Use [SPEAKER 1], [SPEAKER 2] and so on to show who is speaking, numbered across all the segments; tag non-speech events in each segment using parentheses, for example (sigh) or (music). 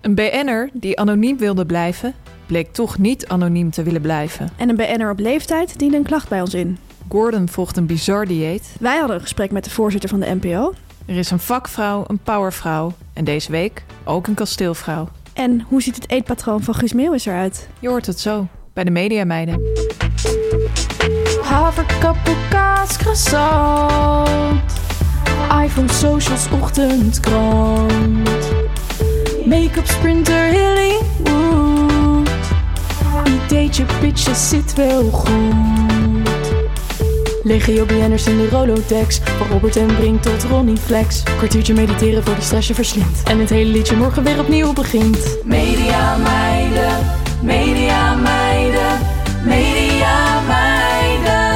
[SPEAKER 1] Een BN'er die anoniem wilde blijven, bleek toch niet anoniem te willen blijven.
[SPEAKER 2] En een BN'er op leeftijd diende een klacht bij ons in.
[SPEAKER 1] Gordon volgt een bizar dieet.
[SPEAKER 2] Wij hadden een gesprek met de voorzitter van de NPO.
[SPEAKER 1] Er is een vakvrouw, een powervrouw en deze week ook een kasteelvrouw.
[SPEAKER 2] En hoe ziet het eetpatroon van Guus Meeuwis eruit?
[SPEAKER 1] Je hoort het zo bij de Mediameiden.
[SPEAKER 3] Haverkappel, kaas, croissant. iPhone, socials, ochtendkrant. Make-up, sprinter, Hollywood. Ideetje, pitje, zit wel goed. Legio BN'ers in de Rolodex. Van Robert en Brink tot Ronnie Flex. Kwartiertje mediteren voor de stress je verslindt. En het hele liedje morgen weer opnieuw begint. Media meiden, media meiden, media meiden.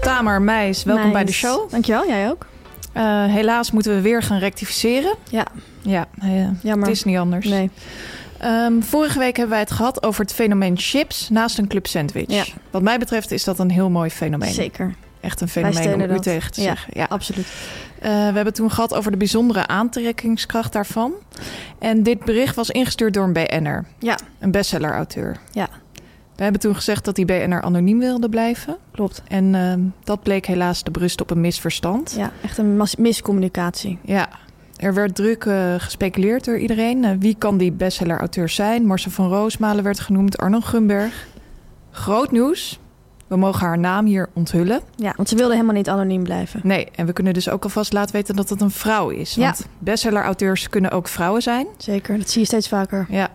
[SPEAKER 1] Tamer Meijs, welkom bij de
[SPEAKER 2] Nice.
[SPEAKER 1] show.
[SPEAKER 2] Dankjewel, jij ook.
[SPEAKER 1] Eh, helaas moeten we weer gaan rectificeren.
[SPEAKER 2] Ja,
[SPEAKER 1] Ja, eh,
[SPEAKER 2] jammer.
[SPEAKER 1] het is niet anders.
[SPEAKER 2] Nee.
[SPEAKER 1] Ehm, vorige week hebben wij het gehad over het fenomeen chips naast een club sandwich.
[SPEAKER 2] Ja.
[SPEAKER 1] Wat mij betreft is dat een heel mooi fenomeen.
[SPEAKER 2] Zeker,
[SPEAKER 1] Echt een
[SPEAKER 2] Wij
[SPEAKER 1] fenomeen om
[SPEAKER 2] steunen
[SPEAKER 1] u
[SPEAKER 2] dat.
[SPEAKER 1] tegen te
[SPEAKER 2] Ja.
[SPEAKER 1] zeggen. Ja.
[SPEAKER 2] absoluut.
[SPEAKER 1] Eh, we hebben het toen gehad over de bijzondere aantrekkingskracht daarvan. En dit bericht was ingestuurd door een BN'er,
[SPEAKER 2] Ja,
[SPEAKER 1] een bestseller-auteur.
[SPEAKER 2] Ja.
[SPEAKER 1] We hebben toen gezegd dat die BN'er anoniem wilde blijven.
[SPEAKER 2] klopt.
[SPEAKER 1] En ehm, dat bleek helaas de brust op een misverstand.
[SPEAKER 2] Ja, echt een mas- miscommunicatie.
[SPEAKER 1] Ja, er werd druk eh, gespeculeerd door iedereen. Eh, wie kan die bestseller-auteur zijn? Marcel van Roosmalen werd genoemd, Arno Gunberg. Groot nieuws. We mogen haar naam hier onthullen.
[SPEAKER 2] Ja, want ze wilde helemaal niet anoniem blijven.
[SPEAKER 1] Nee, en we kunnen dus ook alvast laten weten dat het een vrouw is.
[SPEAKER 2] Ja.
[SPEAKER 1] Want bestseller-auteurs kunnen ook vrouwen zijn.
[SPEAKER 2] Zeker, dat zie je steeds vaker.
[SPEAKER 1] Ja.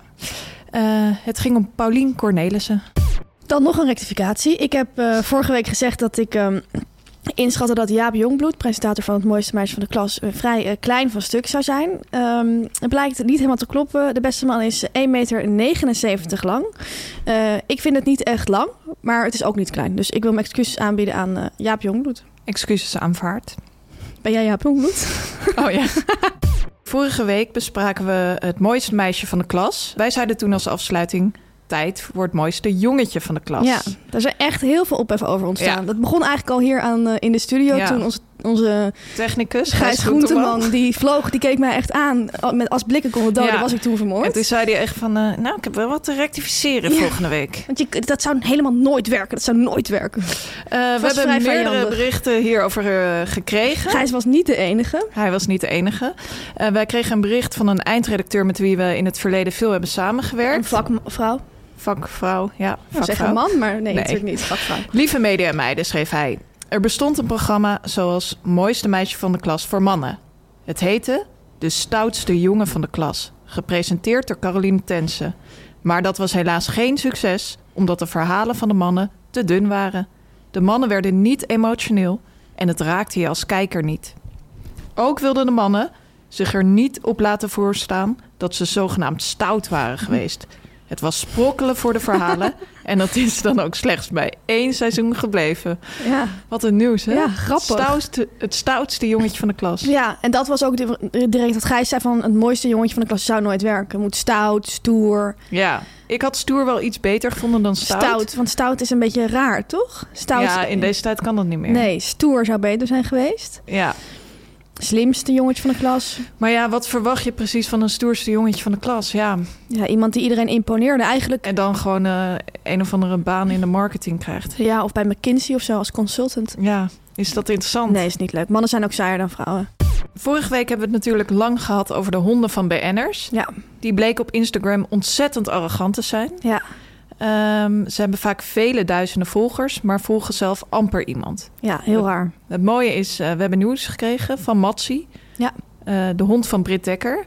[SPEAKER 1] Eh, het ging om Paulien Cornelissen.
[SPEAKER 2] Dan nog een rectificatie. Ik heb eh, vorige week gezegd dat ik ehm, inschatte dat Jaap Jongbloed, presentator van het mooiste meisje van de klas, eh, vrij eh, klein van stuk zou zijn. Ehm, het blijkt niet helemaal te kloppen. De beste man is 1,79 meter lang. Eh, ik vind het niet echt lang, maar het is ook niet klein. Dus ik wil mijn excuses aanbieden aan eh, Jaap Jongbloed.
[SPEAKER 1] Excuses aanvaard.
[SPEAKER 2] Ben jij Jaap Jongbloed?
[SPEAKER 1] Oh ja. (laughs) Vorige week bespraken we het mooiste meisje van de klas. Wij zeiden toen als afsluiting... tijd voor het mooiste jongetje van de klas.
[SPEAKER 2] Ja, daar zijn echt heel veel opheffen over ontstaan.
[SPEAKER 1] Ja.
[SPEAKER 2] Dat begon eigenlijk al hier aan eh, in de studio
[SPEAKER 1] Ja.
[SPEAKER 2] toen onze, onze
[SPEAKER 1] Technicus,
[SPEAKER 2] Gijs Groenteman, die vloog, die keek mij echt aan. Al- Met als blikken konden doden
[SPEAKER 1] Ja.
[SPEAKER 2] was ik toen vermoord.
[SPEAKER 1] En toen zei hij echt van... eh, nou, ik heb wel wat te rectificeren
[SPEAKER 2] Ja.
[SPEAKER 1] volgende
[SPEAKER 2] (laughs)
[SPEAKER 1] week.
[SPEAKER 2] Want je, dat zou helemaal nooit werken. Dat zou nooit werken.
[SPEAKER 1] Eh, we
[SPEAKER 2] vrij
[SPEAKER 1] hebben meerdere
[SPEAKER 2] vijandig.
[SPEAKER 1] berichten hierover eh, gekregen.
[SPEAKER 2] Gijs was niet de enige.
[SPEAKER 1] Hij was niet de enige. Eh, wij kregen een bericht van een eindredacteur... met wie we in het verleden veel hebben
[SPEAKER 2] Een
[SPEAKER 1] samengewerkt.
[SPEAKER 2] vakvrouw.
[SPEAKER 1] Vakvrouw, ja.
[SPEAKER 2] Nou, zeg
[SPEAKER 1] vakvrouw.
[SPEAKER 2] een man, maar nee,
[SPEAKER 1] Nee.
[SPEAKER 2] natuurlijk niet. Vakvrouw.
[SPEAKER 1] Lieve media en meiden, schreef hij. Er bestond een programma zoals Mooiste meisje van de klas voor mannen. Het heette De Stoutste Jongen van de Klas, gepresenteerd door Caroline Tense. Maar dat was helaas geen succes, omdat de verhalen van de mannen te dun waren. De mannen werden niet emotioneel en het raakte je als kijker niet. Ook wilden de mannen zich er niet op laten voorstaan dat ze zogenaamd stout waren geweest. Het was sprokkelen voor de
[SPEAKER 2] (laughs)
[SPEAKER 1] verhalen en dat is dan ook slechts bij één seizoen gebleven.
[SPEAKER 2] Ja.
[SPEAKER 1] Wat een nieuws, hè?
[SPEAKER 2] Ja, grappig.
[SPEAKER 1] Het stoutste, het stoutste jongetje van de klas.
[SPEAKER 2] ja, en dat was ook di- direct wat Gijs zei van... het mooiste jongetje van de klas zou nooit werken. Moet stout, stoer,
[SPEAKER 1] Ja, ik had stoer wel iets beter gevonden dan
[SPEAKER 2] stout.
[SPEAKER 1] stout.
[SPEAKER 2] Want stout is een beetje raar, toch? Stout
[SPEAKER 1] Ja, in deze tijd kan dat niet meer.
[SPEAKER 2] Nee, stoer zou beter zijn geweest.
[SPEAKER 1] Ja.
[SPEAKER 2] Slimste jongetje van de klas.
[SPEAKER 1] Maar ja, wat verwacht je precies van een stoerste jongetje van de klas? Ja,
[SPEAKER 2] Ja, iemand die iedereen imponeerde eigenlijk.
[SPEAKER 1] en dan gewoon eh, een of andere baan in de marketing krijgt.
[SPEAKER 2] Ja, of bij McKinsey of zo als consultant.
[SPEAKER 1] Ja, is dat interessant?
[SPEAKER 2] Nee, is niet leuk. Mannen zijn ook saaier dan vrouwen.
[SPEAKER 1] Vorige week hebben we het natuurlijk lang gehad over de honden van BN'ers.
[SPEAKER 2] Ja,
[SPEAKER 1] Die bleken op Instagram ontzettend arrogant te zijn.
[SPEAKER 2] ja,
[SPEAKER 1] Ehm, ze hebben vaak vele duizenden volgers, maar volgen zelf amper iemand.
[SPEAKER 2] ja, heel raar.
[SPEAKER 1] Het mooie is, eh, we hebben nieuws gekregen van Matsi.
[SPEAKER 2] Ja.
[SPEAKER 1] eh, de hond van Britt Dekker.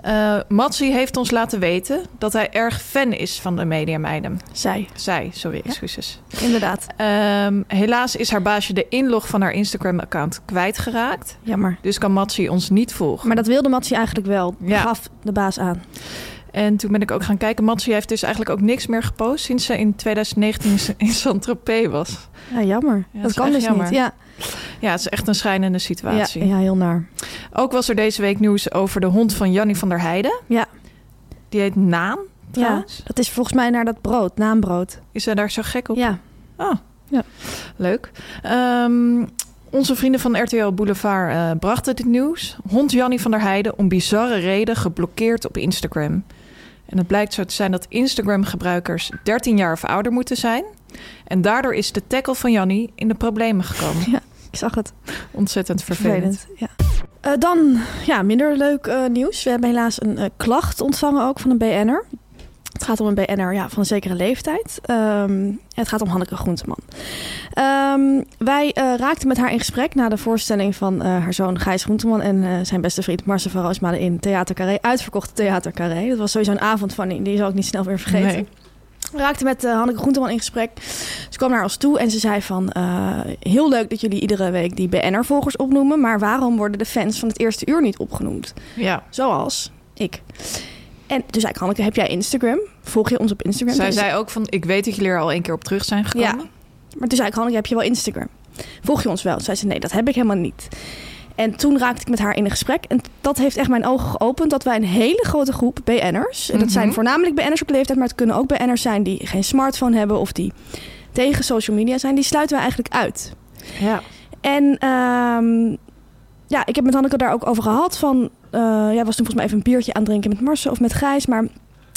[SPEAKER 1] Eh Matsi heeft ons laten weten dat hij erg fan is van de Media Meiden.
[SPEAKER 2] Zij,
[SPEAKER 1] Zij, sorry, excuses.
[SPEAKER 2] inderdaad.
[SPEAKER 1] Ehm, helaas is haar baasje de inlog van haar Instagram-account kwijtgeraakt.
[SPEAKER 2] Jammer.
[SPEAKER 1] Dus kan Matsi ons niet volgen.
[SPEAKER 2] Maar dat wilde Matsie eigenlijk wel.
[SPEAKER 1] Ja.
[SPEAKER 2] Gaf de baas aan.
[SPEAKER 1] En toen ben ik ook gaan kijken. Matsi heeft dus eigenlijk ook niks meer gepost sinds ze in 2019
[SPEAKER 2] (laughs)
[SPEAKER 1] in- in Saint-Tropez was.
[SPEAKER 2] Ja, jammer.
[SPEAKER 1] Ja,
[SPEAKER 2] dat
[SPEAKER 1] is
[SPEAKER 2] kan
[SPEAKER 1] echt
[SPEAKER 2] dus
[SPEAKER 1] jammer.
[SPEAKER 2] niet. Ja.
[SPEAKER 1] Ja, het is echt een schrijnende
[SPEAKER 2] Ja,
[SPEAKER 1] situatie.
[SPEAKER 2] ja, heel naar.
[SPEAKER 1] Ook was er deze week nieuws over de hond van Jannie van der Heijden.
[SPEAKER 2] Ja.
[SPEAKER 1] Die heet Naan,
[SPEAKER 2] Ja,
[SPEAKER 1] trouwens.
[SPEAKER 2] dat is volgens mij naar dat brood, naambrood.
[SPEAKER 1] Is zij daar zo gek op?
[SPEAKER 2] Ja,
[SPEAKER 1] Oh,
[SPEAKER 2] Ja.
[SPEAKER 1] leuk. Ehm, onze vrienden van RTL Boulevard eh, brachten dit nieuws. Hond Jannie van der Heijden om bizarre reden geblokkeerd op Instagram. En het blijkt zo te zijn dat Instagram-gebruikers 13 jaar of ouder moeten zijn. En daardoor is de tackle van Jannie in de problemen
[SPEAKER 2] (laughs)
[SPEAKER 1] gekomen.
[SPEAKER 2] ik zag het.
[SPEAKER 1] Ontzettend vervelend.
[SPEAKER 2] Vervelend. Ja. Eh, dan, ja, minder leuk eh, nieuws. We hebben helaas een eh, klacht ontvangen ook van een BN'er. Het gaat om een BN'er ja, van een zekere leeftijd. Ehm, het gaat om Hanneke Groenteman. Ehm, wij eh, raakten met haar in gesprek na de voorstelling van eh, haar zoon Gijs Groenteman... en eh, zijn beste vriend Marcel van Roosmalen in Theater Carré. Uitverkochte Theater Carré. Dat was sowieso een avond van die, die zal ik niet snel meer vergeten.
[SPEAKER 1] Nee.
[SPEAKER 2] We raakten met eh, Hanneke Groenteman in gesprek. Ze kwam naar ons toe en ze zei van... eh, heel leuk dat jullie iedere week die BN'er-volgers opnoemen... maar waarom worden de fans van het eerste uur niet opgenoemd?
[SPEAKER 1] Ja.
[SPEAKER 2] Zoals ik. En toen zei ik, Hanneke, heb jij Instagram? Volg je ons op Instagram? Dus-
[SPEAKER 1] Zij
[SPEAKER 2] Toen
[SPEAKER 1] zei ook van, ik weet dat jullie er al een keer op terug zijn gekomen.
[SPEAKER 2] Ja. Maar toen zei ik, Hanneke, heb je wel Instagram? Volg je ons wel? Toen zei ze, nee, dat heb ik helemaal niet. En toen raakte ik met haar in een gesprek. En dat heeft echt mijn ogen geopend. Dat wij een hele grote groep BN'ers... en
[SPEAKER 1] Mhm.
[SPEAKER 2] dat zijn voornamelijk BN'ers op leeftijd... maar het kunnen ook BN'ers zijn die geen smartphone hebben... of die tegen social media zijn. Die sluiten wij eigenlijk uit.
[SPEAKER 1] ja.
[SPEAKER 2] En ehm, ja, ik heb met Hanneke daar ook over gehad. Van, eh ja, was toen volgens mij even een biertje aan het drinken met Marcel of met Gijs. Maar,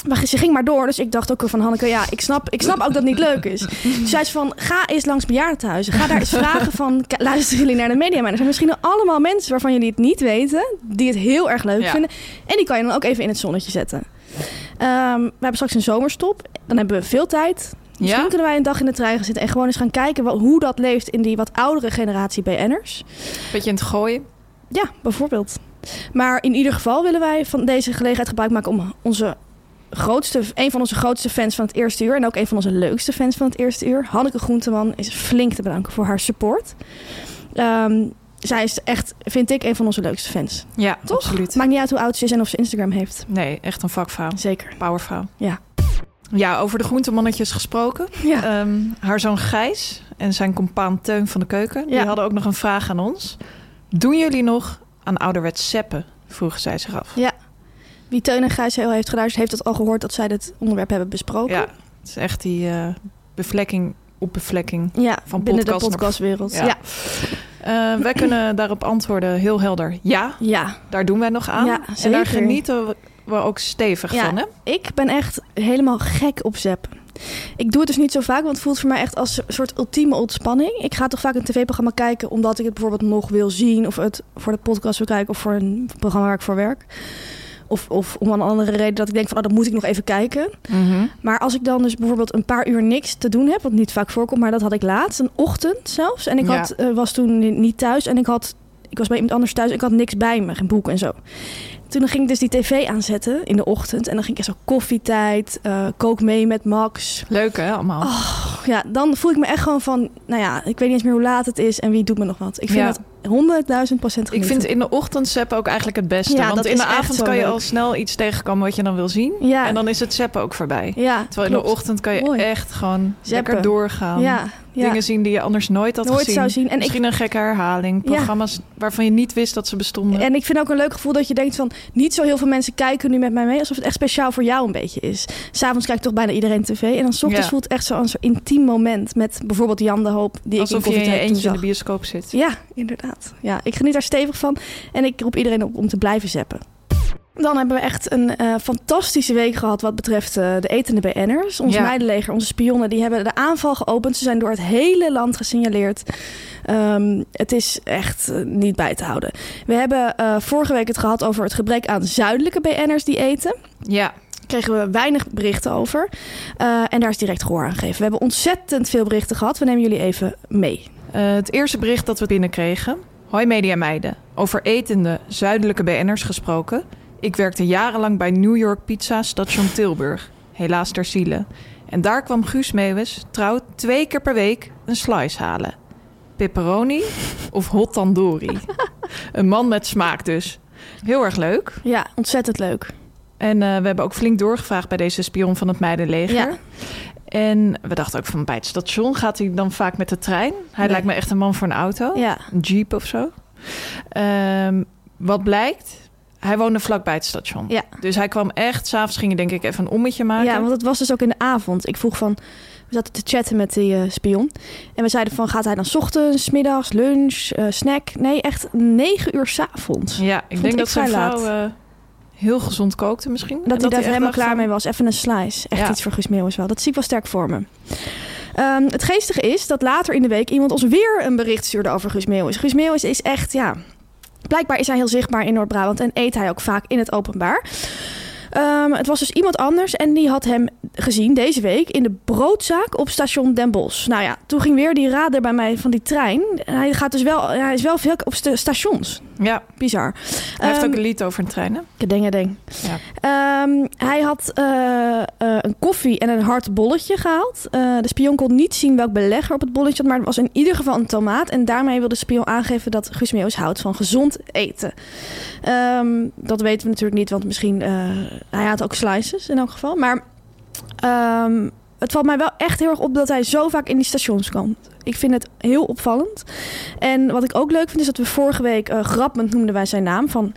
[SPEAKER 2] maar ze ging maar door. Dus ik dacht ook van Hanneke, ja, ik snap, ik snap ook dat het niet leuk is. Toen zei ze van, ga eens langs bejaardentehuizen. Ga daar eens vragen van, "K- luisteren jullie naar de media? Maar er zijn misschien allemaal mensen waarvan jullie het niet weten. Die het heel erg leuk
[SPEAKER 1] Ja.
[SPEAKER 2] vinden. En die kan je dan ook even in het zonnetje zetten. Ehm, we hebben straks een zomerstop. Dan hebben we veel tijd. Misschien
[SPEAKER 1] Ja?
[SPEAKER 2] kunnen wij een dag in de trein gaan zitten en gewoon eens gaan kijken wel- hoe dat leeft in die wat oudere generatie BN'ers.
[SPEAKER 1] Beetje in het gooien.
[SPEAKER 2] Ja, bijvoorbeeld. Maar in ieder geval willen wij van deze gelegenheid gebruik maken om onze grootste, een van onze grootste fans van het eerste uur en ook een van onze leukste fans van het eerste uur, Hanneke Groenteman, is flink te bedanken voor haar support. Ehm, zij is echt, vind ik, een van onze leukste fans.
[SPEAKER 1] Ja,
[SPEAKER 2] Toch?
[SPEAKER 1] absoluut.
[SPEAKER 2] Maakt niet uit hoe oud ze is en of ze Instagram heeft.
[SPEAKER 1] Nee, echt een vakvrouw.
[SPEAKER 2] Zeker.
[SPEAKER 1] Powervrouw.
[SPEAKER 2] Ja.
[SPEAKER 1] Ja, over de groentemannetjes gesproken.
[SPEAKER 2] Ja.
[SPEAKER 1] Ehm, haar zoon Gijs en zijn compaan Teun van de Keuken... die
[SPEAKER 2] Ja.
[SPEAKER 1] hadden ook nog een vraag aan ons. Doen jullie nog aan ouderwets seppen? Vroegen zij zich af.
[SPEAKER 2] Ja. Wie Teun en Gijs heel heeft geluisterd, heeft dat al gehoord dat zij dit onderwerp hebben besproken.
[SPEAKER 1] Ja, het is echt die eh, bevlekking op bevlekking.
[SPEAKER 2] Ja,
[SPEAKER 1] Van
[SPEAKER 2] binnen
[SPEAKER 1] podcast
[SPEAKER 2] de
[SPEAKER 1] naar-
[SPEAKER 2] podcastwereld.
[SPEAKER 1] Ja.
[SPEAKER 2] Ja.
[SPEAKER 1] Eh, (clears throat) wij kunnen daarop antwoorden heel helder. Ja,
[SPEAKER 2] Ja.
[SPEAKER 1] daar doen wij nog aan.
[SPEAKER 2] Ja,
[SPEAKER 1] En daar
[SPEAKER 2] zeker.
[SPEAKER 1] genieten we- we ook stevig
[SPEAKER 2] Ja.
[SPEAKER 1] van, hè?
[SPEAKER 2] Ik ben echt helemaal gek op zappen. Ik doe het dus niet zo vaak, want het voelt voor mij echt als een soort ultieme ontspanning. Ik ga toch vaak een tv-programma kijken omdat ik het bijvoorbeeld nog wil zien... of het voor de podcast wil kijken of voor een programma waar ik voor werk. Of, of om een andere reden dat ik denk van, oh, dat moet ik nog even kijken. Maar als ik dan dus bijvoorbeeld een paar uur niks te doen heb, wat niet vaak voorkomt, maar dat had ik laatst, een ochtend zelfs. En ik
[SPEAKER 1] Ja.
[SPEAKER 2] had, eh, was toen ni- niet thuis en ik had, ik was bij iemand anders thuis. Ik had niks bij me, geen boek en zo. Toen ging ik dus die tv aanzetten in de ochtend en dan ging ik echt zo koffietijd, eh, kook mee met Max.
[SPEAKER 1] Leuk, hè, allemaal?
[SPEAKER 2] Ja, dan voel ik me echt gewoon van, nou ja, ik weet niet eens meer hoe laat het is en wie doet me nog wat. Ik vind
[SPEAKER 1] Ja.
[SPEAKER 2] dat 100.000 procent
[SPEAKER 1] Ik vind in de ochtend seppen ook eigenlijk het beste.
[SPEAKER 2] Ja,
[SPEAKER 1] want
[SPEAKER 2] dat
[SPEAKER 1] in de
[SPEAKER 2] is echt
[SPEAKER 1] avond
[SPEAKER 2] zo
[SPEAKER 1] kan je
[SPEAKER 2] leuk.
[SPEAKER 1] al snel iets tegenkomen wat je dan wil zien.
[SPEAKER 2] Ja.
[SPEAKER 1] En dan is het seppen ook voorbij.
[SPEAKER 2] ja,
[SPEAKER 1] Terwijl in de
[SPEAKER 2] klopt.
[SPEAKER 1] ochtend kan je
[SPEAKER 2] Mooi.
[SPEAKER 1] echt gewoon lekker
[SPEAKER 2] Zappen.
[SPEAKER 1] doorgaan.
[SPEAKER 2] ja, ja.
[SPEAKER 1] Dingen zien die je anders nooit had
[SPEAKER 2] Nooit
[SPEAKER 1] gezien.
[SPEAKER 2] zou zien. En ik-
[SPEAKER 1] Misschien een gekke herhaling.
[SPEAKER 2] Ja.
[SPEAKER 1] Programma's waarvan je niet wist dat ze bestonden.
[SPEAKER 2] En ik vind ook een leuk gevoel dat je denkt van... niet zo heel veel mensen kijken nu met mij mee... alsof het echt speciaal voor jou een beetje is. S'avonds kijkt toch bijna iedereen tv. En dan 's ochtends
[SPEAKER 1] Ja.
[SPEAKER 2] voelt het echt zo'n soort intiem moment... met bijvoorbeeld Jan de Hoop, die
[SPEAKER 1] Alsof
[SPEAKER 2] ik in
[SPEAKER 1] je in je
[SPEAKER 2] koffietijd toen
[SPEAKER 1] eentje in de
[SPEAKER 2] zag.
[SPEAKER 1] bioscoop zit.
[SPEAKER 2] Ja, inderdaad. Ja, ik geniet daar stevig van. En ik roep iedereen op om te blijven zappen. Dan hebben we echt een eh, fantastische week gehad wat betreft eh, de etende BN'ers. Ons
[SPEAKER 1] Ja.
[SPEAKER 2] meidenleger, onze spionnen, die hebben de aanval geopend. Ze zijn door het hele land gesignaleerd. Ehm, het is echt eh, niet bij te houden. We hebben eh, vorige week het gehad over het gebrek aan zuidelijke BN'ers die eten
[SPEAKER 1] Ja,
[SPEAKER 2] kregen we weinig berichten over. Eh, en daar is direct gehoor aan gegeven. We hebben ontzettend veel berichten gehad. We nemen jullie even mee.
[SPEAKER 1] Eh, het eerste bericht dat we binnenkregen. Hoi media meiden. Over etende zuidelijke BN'ers gesproken. Ik werkte jarenlang bij New York Pizza station Tilburg. Helaas ter ziele. En daar kwam Guus Meeuwis trouw twee keer per week een slice halen. Pepperoni of hot
[SPEAKER 2] (laughs)
[SPEAKER 1] tandoori. een man met smaak dus. Heel erg leuk.
[SPEAKER 2] Ja, ontzettend leuk.
[SPEAKER 1] En eh, we hebben ook flink doorgevraagd bij deze spion van het Meidenleger.
[SPEAKER 2] Ja.
[SPEAKER 1] En we dachten ook van bij het station gaat hij dan vaak met de trein. Hij
[SPEAKER 2] Nee.
[SPEAKER 1] lijkt me echt een man voor een auto.
[SPEAKER 2] Ja.
[SPEAKER 1] Een jeep of zo. Ehm, wat blijkt, hij woonde vlakbij het station.
[SPEAKER 2] Ja.
[SPEAKER 1] Dus hij kwam echt, s'avonds ging hij denk ik even een ommetje maken.
[SPEAKER 2] ja, want het was dus ook in de avond. Ik vroeg van... We zaten te chatten met die eh, spion. En we zeiden van, gaat hij dan 's ochtends, 's middags, lunch, eh, snack? Nee, echt negen uur 's avonds.
[SPEAKER 1] Ja, ik denk
[SPEAKER 2] ik
[SPEAKER 1] dat zijn
[SPEAKER 2] vrij laat.
[SPEAKER 1] vrouw eh, heel gezond kookte misschien. En
[SPEAKER 2] Dat, hij daar
[SPEAKER 1] echt
[SPEAKER 2] helemaal
[SPEAKER 1] dacht
[SPEAKER 2] klaar
[SPEAKER 1] van,
[SPEAKER 2] mee was. Even een slice. Echt
[SPEAKER 1] Ja.
[SPEAKER 2] iets voor Guus Meeuwis wel. Dat zie ik wel sterk voor me. Ehm, het geestige is dat later in de week iemand ons weer een bericht stuurde over Guus Meeuwis. Guus Meeuwis is echt, ja... Blijkbaar is hij heel zichtbaar in Noord-Brabant en eet hij ook vaak in het openbaar. Ehm, het was dus iemand anders en die had hem gezien deze week in de broodzaak op station Den Bosch. Nou ja, toen ging weer die rader bij mij van die trein. En Hij, gaat dus wel, hij is wel veel op sta- stations.
[SPEAKER 1] Ja,
[SPEAKER 2] Bizar.
[SPEAKER 1] hij heeft
[SPEAKER 2] Ehm,
[SPEAKER 1] ook een lied over een trein hè?
[SPEAKER 2] Kedeng, ding.
[SPEAKER 1] Ja.
[SPEAKER 2] Ehm, hij had eh, eh, een koffie en een hard bolletje gehaald. Eh, de spion kon niet zien welk beleg er op het bolletje had, maar het was in ieder geval een tomaat. En daarmee wilde de spion aangeven dat Guus Meeuwis houdt van gezond eten. Ehm, dat weten we natuurlijk niet, want misschien... eh, hij had ook slices in elk geval. Maar ehm, het valt mij wel echt heel erg op dat hij zo vaak in die stations komt. Ik vind het heel opvallend. En wat ik ook leuk vind is dat we vorige week... eh grappend noemden wij zijn naam van...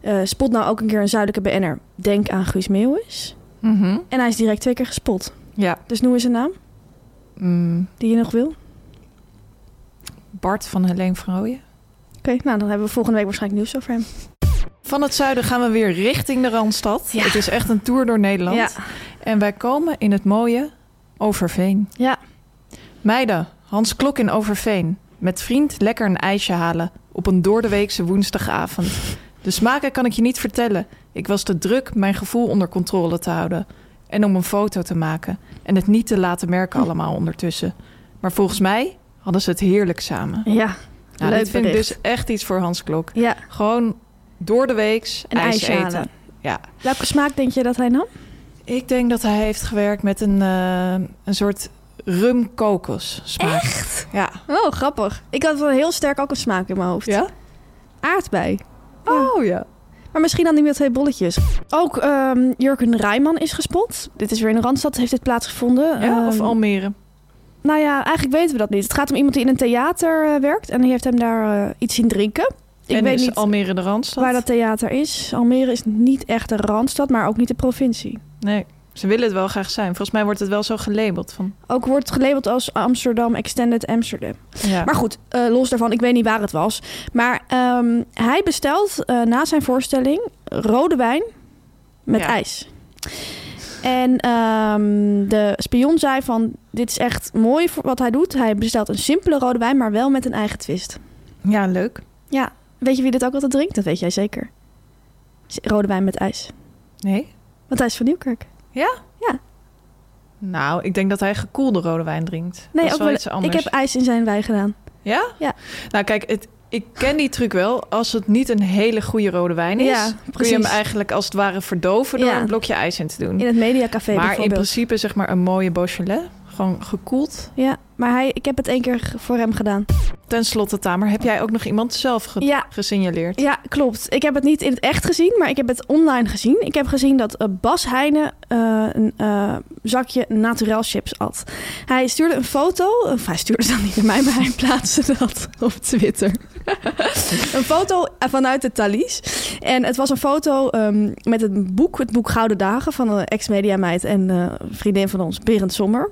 [SPEAKER 2] Eh, spot nou ook een keer een zuidelijke BN'er. Denk aan Guus Meeuwis.
[SPEAKER 1] Mhm.
[SPEAKER 2] En hij is direct twee keer gespot.
[SPEAKER 1] Ja.
[SPEAKER 2] Dus noem eens een naam
[SPEAKER 1] Mm,
[SPEAKER 2] die je nog wil. Oké,
[SPEAKER 1] Bart van Helene Frooijen.
[SPEAKER 2] nou dan hebben we volgende week waarschijnlijk nieuws over hem.
[SPEAKER 1] Van het zuiden gaan we weer richting de Randstad.
[SPEAKER 2] Ja.
[SPEAKER 1] Het is echt een tour door Nederland.
[SPEAKER 2] Ja.
[SPEAKER 1] En wij komen in het mooie Overveen.
[SPEAKER 2] Ja.
[SPEAKER 1] Meiden, Hans Klok in Overveen. Met vriend lekker een ijsje halen op een doordeweekse woensdagavond. De smaken kan ik je niet vertellen. Ik was te druk mijn gevoel onder controle te houden. En om een foto te maken. En het niet te laten merken
[SPEAKER 2] Hm.
[SPEAKER 1] allemaal ondertussen. Maar volgens mij hadden ze het heerlijk samen.
[SPEAKER 2] Ja,
[SPEAKER 1] Nou,
[SPEAKER 2] leuk
[SPEAKER 1] dit vind ik
[SPEAKER 2] bericht.
[SPEAKER 1] dus echt iets voor Hans Klok.
[SPEAKER 2] Ja,
[SPEAKER 1] Gewoon door de weeks
[SPEAKER 2] een
[SPEAKER 1] ijs
[SPEAKER 2] ijsje
[SPEAKER 1] eten.
[SPEAKER 2] halen.
[SPEAKER 1] Ja.
[SPEAKER 2] Welke smaak denk je dat hij nam?
[SPEAKER 1] Ik denk dat hij heeft gewerkt met een, eh, een soort rum kokos smaak.
[SPEAKER 2] Echt?
[SPEAKER 1] Ja.
[SPEAKER 2] Oh, grappig. Ik had wel heel sterk ook een smaak in mijn hoofd. Aardbei.
[SPEAKER 1] Oh ja.
[SPEAKER 2] Maar misschien dan die met twee bolletjes. Ook ehm, Jurgen Rijman is gespot. Dit is weer in de Randstad, heeft dit plaatsgevonden.
[SPEAKER 1] ja of
[SPEAKER 2] Ehm,
[SPEAKER 1] Almere.
[SPEAKER 2] Nou ja, eigenlijk weten we dat niet. Het gaat om iemand die in een theater eh, werkt en die heeft hem daar eh, iets zien drinken. Ik
[SPEAKER 1] en
[SPEAKER 2] weet
[SPEAKER 1] is
[SPEAKER 2] niet
[SPEAKER 1] Almere de Randstad?
[SPEAKER 2] waar dat theater is. Almere is niet echt de randstad, maar ook niet de provincie.
[SPEAKER 1] Nee, ze willen het wel graag zijn. Volgens mij wordt het wel zo gelabeld. Van,
[SPEAKER 2] Ook wordt het gelabeld als Amsterdam Extended Amsterdam.
[SPEAKER 1] ja.
[SPEAKER 2] Maar goed, eh, los daarvan, ik weet niet waar het was. Maar ehm, hij bestelt eh, na zijn voorstelling rode wijn met
[SPEAKER 1] Ja.
[SPEAKER 2] ijs. En ehm, de spion zei van, dit is echt mooi voor wat hij doet. Hij bestelt een simpele rode wijn, maar wel met een eigen twist.
[SPEAKER 1] ja, leuk.
[SPEAKER 2] Ja, weet je wie dit ook altijd drinkt? Dat weet jij zeker. Rode wijn met ijs.
[SPEAKER 1] Nee?
[SPEAKER 2] Matthijs van Nieuwkerk.
[SPEAKER 1] Ja?
[SPEAKER 2] Ja.
[SPEAKER 1] Nou, ik denk dat hij gekoelde rode wijn drinkt.
[SPEAKER 2] Nee,
[SPEAKER 1] dat is
[SPEAKER 2] ook
[SPEAKER 1] wel,
[SPEAKER 2] wel,
[SPEAKER 1] iets
[SPEAKER 2] ik
[SPEAKER 1] anders.
[SPEAKER 2] heb ijs in zijn wijn gedaan.
[SPEAKER 1] Ja?
[SPEAKER 2] Ja.
[SPEAKER 1] Nou, kijk, het, ik ken die truc wel. Als het niet een hele goede rode wijn is,
[SPEAKER 2] Ja,
[SPEAKER 1] kun
[SPEAKER 2] precies.
[SPEAKER 1] je hem eigenlijk als het ware verdoven door
[SPEAKER 2] Ja.
[SPEAKER 1] een blokje ijs in te doen.
[SPEAKER 2] In het mediacafé
[SPEAKER 1] Hm. maar in
[SPEAKER 2] bijvoorbeeld.
[SPEAKER 1] principe zeg maar een mooie Beaujolais. Gewoon gekoeld.
[SPEAKER 2] Ja, maar hij, ik heb het één keer ge- voor hem gedaan.
[SPEAKER 1] Ten slotte, Tamer, heb jij ook nog iemand zelf ge-
[SPEAKER 2] Ja.
[SPEAKER 1] gesignaleerd?
[SPEAKER 2] Ja, klopt. Ik heb het niet in het echt gezien, maar ik heb het online gezien. Ik heb gezien dat eh, Bas Heijnen eh, een eh, zakje naturel chips at. Hij stuurde een foto, of hij stuurde dat niet naar mij, maar hij plaatste dat (laughs) op Twitter. een foto eh, vanuit de Thalys. En het was een foto ehm, met het boek, het boek Gouden Dagen van een ex-mediameid en eh, vriendin van ons, Berend Sommer.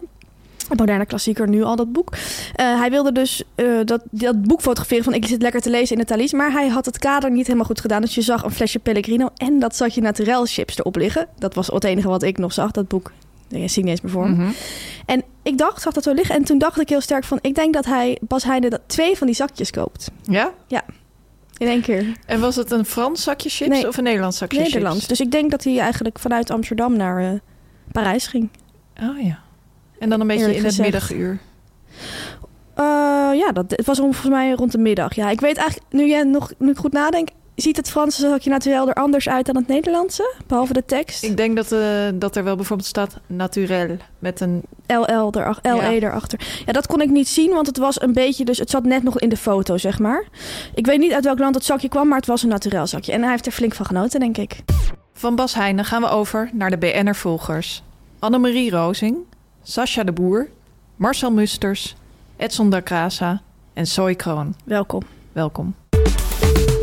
[SPEAKER 2] Een moderne klassieker nu al, dat boek. Eh, hij wilde dus eh, dat, dat boek fotograferen van ik zit lekker te lezen in het Thalys. Maar hij had het kader niet helemaal goed gedaan. Dus je zag een flesje Pellegrino en dat zat je naturel chips erop liggen. Dat was het enige wat ik nog zag, dat boek. Ik zie ik niet eens meer voor me.
[SPEAKER 1] Mhm.
[SPEAKER 2] En ik dacht, zag dat zo liggen. En toen dacht ik heel sterk van, ik denk dat hij, Bas Heijnen dat twee van die zakjes koopt.
[SPEAKER 1] Ja?
[SPEAKER 2] In één keer.
[SPEAKER 1] En was het een Frans zakje chips
[SPEAKER 2] Nee.
[SPEAKER 1] of een Nederlands zakje
[SPEAKER 2] Nederlands.
[SPEAKER 1] chips?
[SPEAKER 2] Dus ik denk dat hij eigenlijk vanuit Amsterdam naar eh, Parijs ging.
[SPEAKER 1] Oh ja. En dan een beetje
[SPEAKER 2] Eerlijk
[SPEAKER 1] in het
[SPEAKER 2] gezegd.
[SPEAKER 1] middaguur.
[SPEAKER 2] Eh, ja, dat, het was om, volgens mij rond de middag. Ja, ik weet eigenlijk, nu, jij nog, nu ik goed nadenk, ziet het Franse zakje natuurlijk er anders uit dan het Nederlandse. Behalve de tekst.
[SPEAKER 1] Ik denk dat, eh, dat er wel bijvoorbeeld staat naturel met een...
[SPEAKER 2] LL erach, LE
[SPEAKER 1] Ja.
[SPEAKER 2] E erachter. Ja, dat kon ik niet zien, want het was een beetje, dus het zat net nog in de foto, zeg maar. Ik weet niet uit welk land het zakje kwam, maar het was een naturel zakje. En hij heeft er flink van genoten, denk ik.
[SPEAKER 1] Van Bas Heijnen gaan we over naar de BN'er-volgers. Annemarie Rozing, Sascha de Boer, Marcel Musters, Edson da Casa en Soy Kroon.
[SPEAKER 2] Welkom.
[SPEAKER 1] Welkom.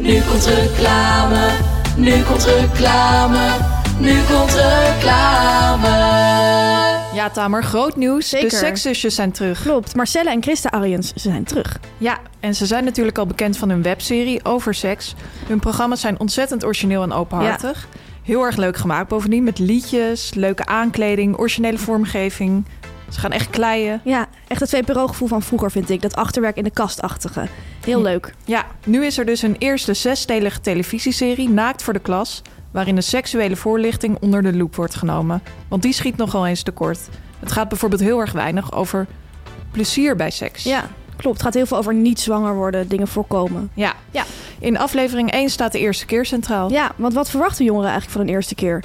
[SPEAKER 3] Nu komt reclame, nu komt reclame, nu komt reclame.
[SPEAKER 1] Ja, Tamer, groot nieuws.
[SPEAKER 2] Zeker.
[SPEAKER 1] De sekszusjes zijn terug.
[SPEAKER 2] Klopt. Marcella en Christa Ariens ze zijn terug.
[SPEAKER 1] Ja, en ze zijn natuurlijk al bekend van hun webserie over seks. Hun programma's zijn ontzettend origineel en openhartig. Heel erg leuk gemaakt bovendien, met liedjes, leuke aankleding, originele vormgeving. Ze gaan echt kleien.
[SPEAKER 2] Ja, echt het VPRO-gevoel van vroeger vind ik. Dat achterwerk in de kastachtige. Heel leuk.
[SPEAKER 1] Ja, nu is er dus hun eerste zesdelige televisieserie, Naakt voor de Klas... waarin de seksuele voorlichting onder de loep wordt genomen. Want die schiet nogal eens tekort. Het gaat bijvoorbeeld heel erg weinig over plezier bij seks.
[SPEAKER 2] Ja, klopt. Het gaat heel veel over niet zwanger worden, dingen voorkomen.
[SPEAKER 1] Ja.
[SPEAKER 2] Ja.
[SPEAKER 1] In aflevering 1 staat de eerste keer centraal.
[SPEAKER 2] Ja, want wat verwachten jongeren eigenlijk van een eerste keer?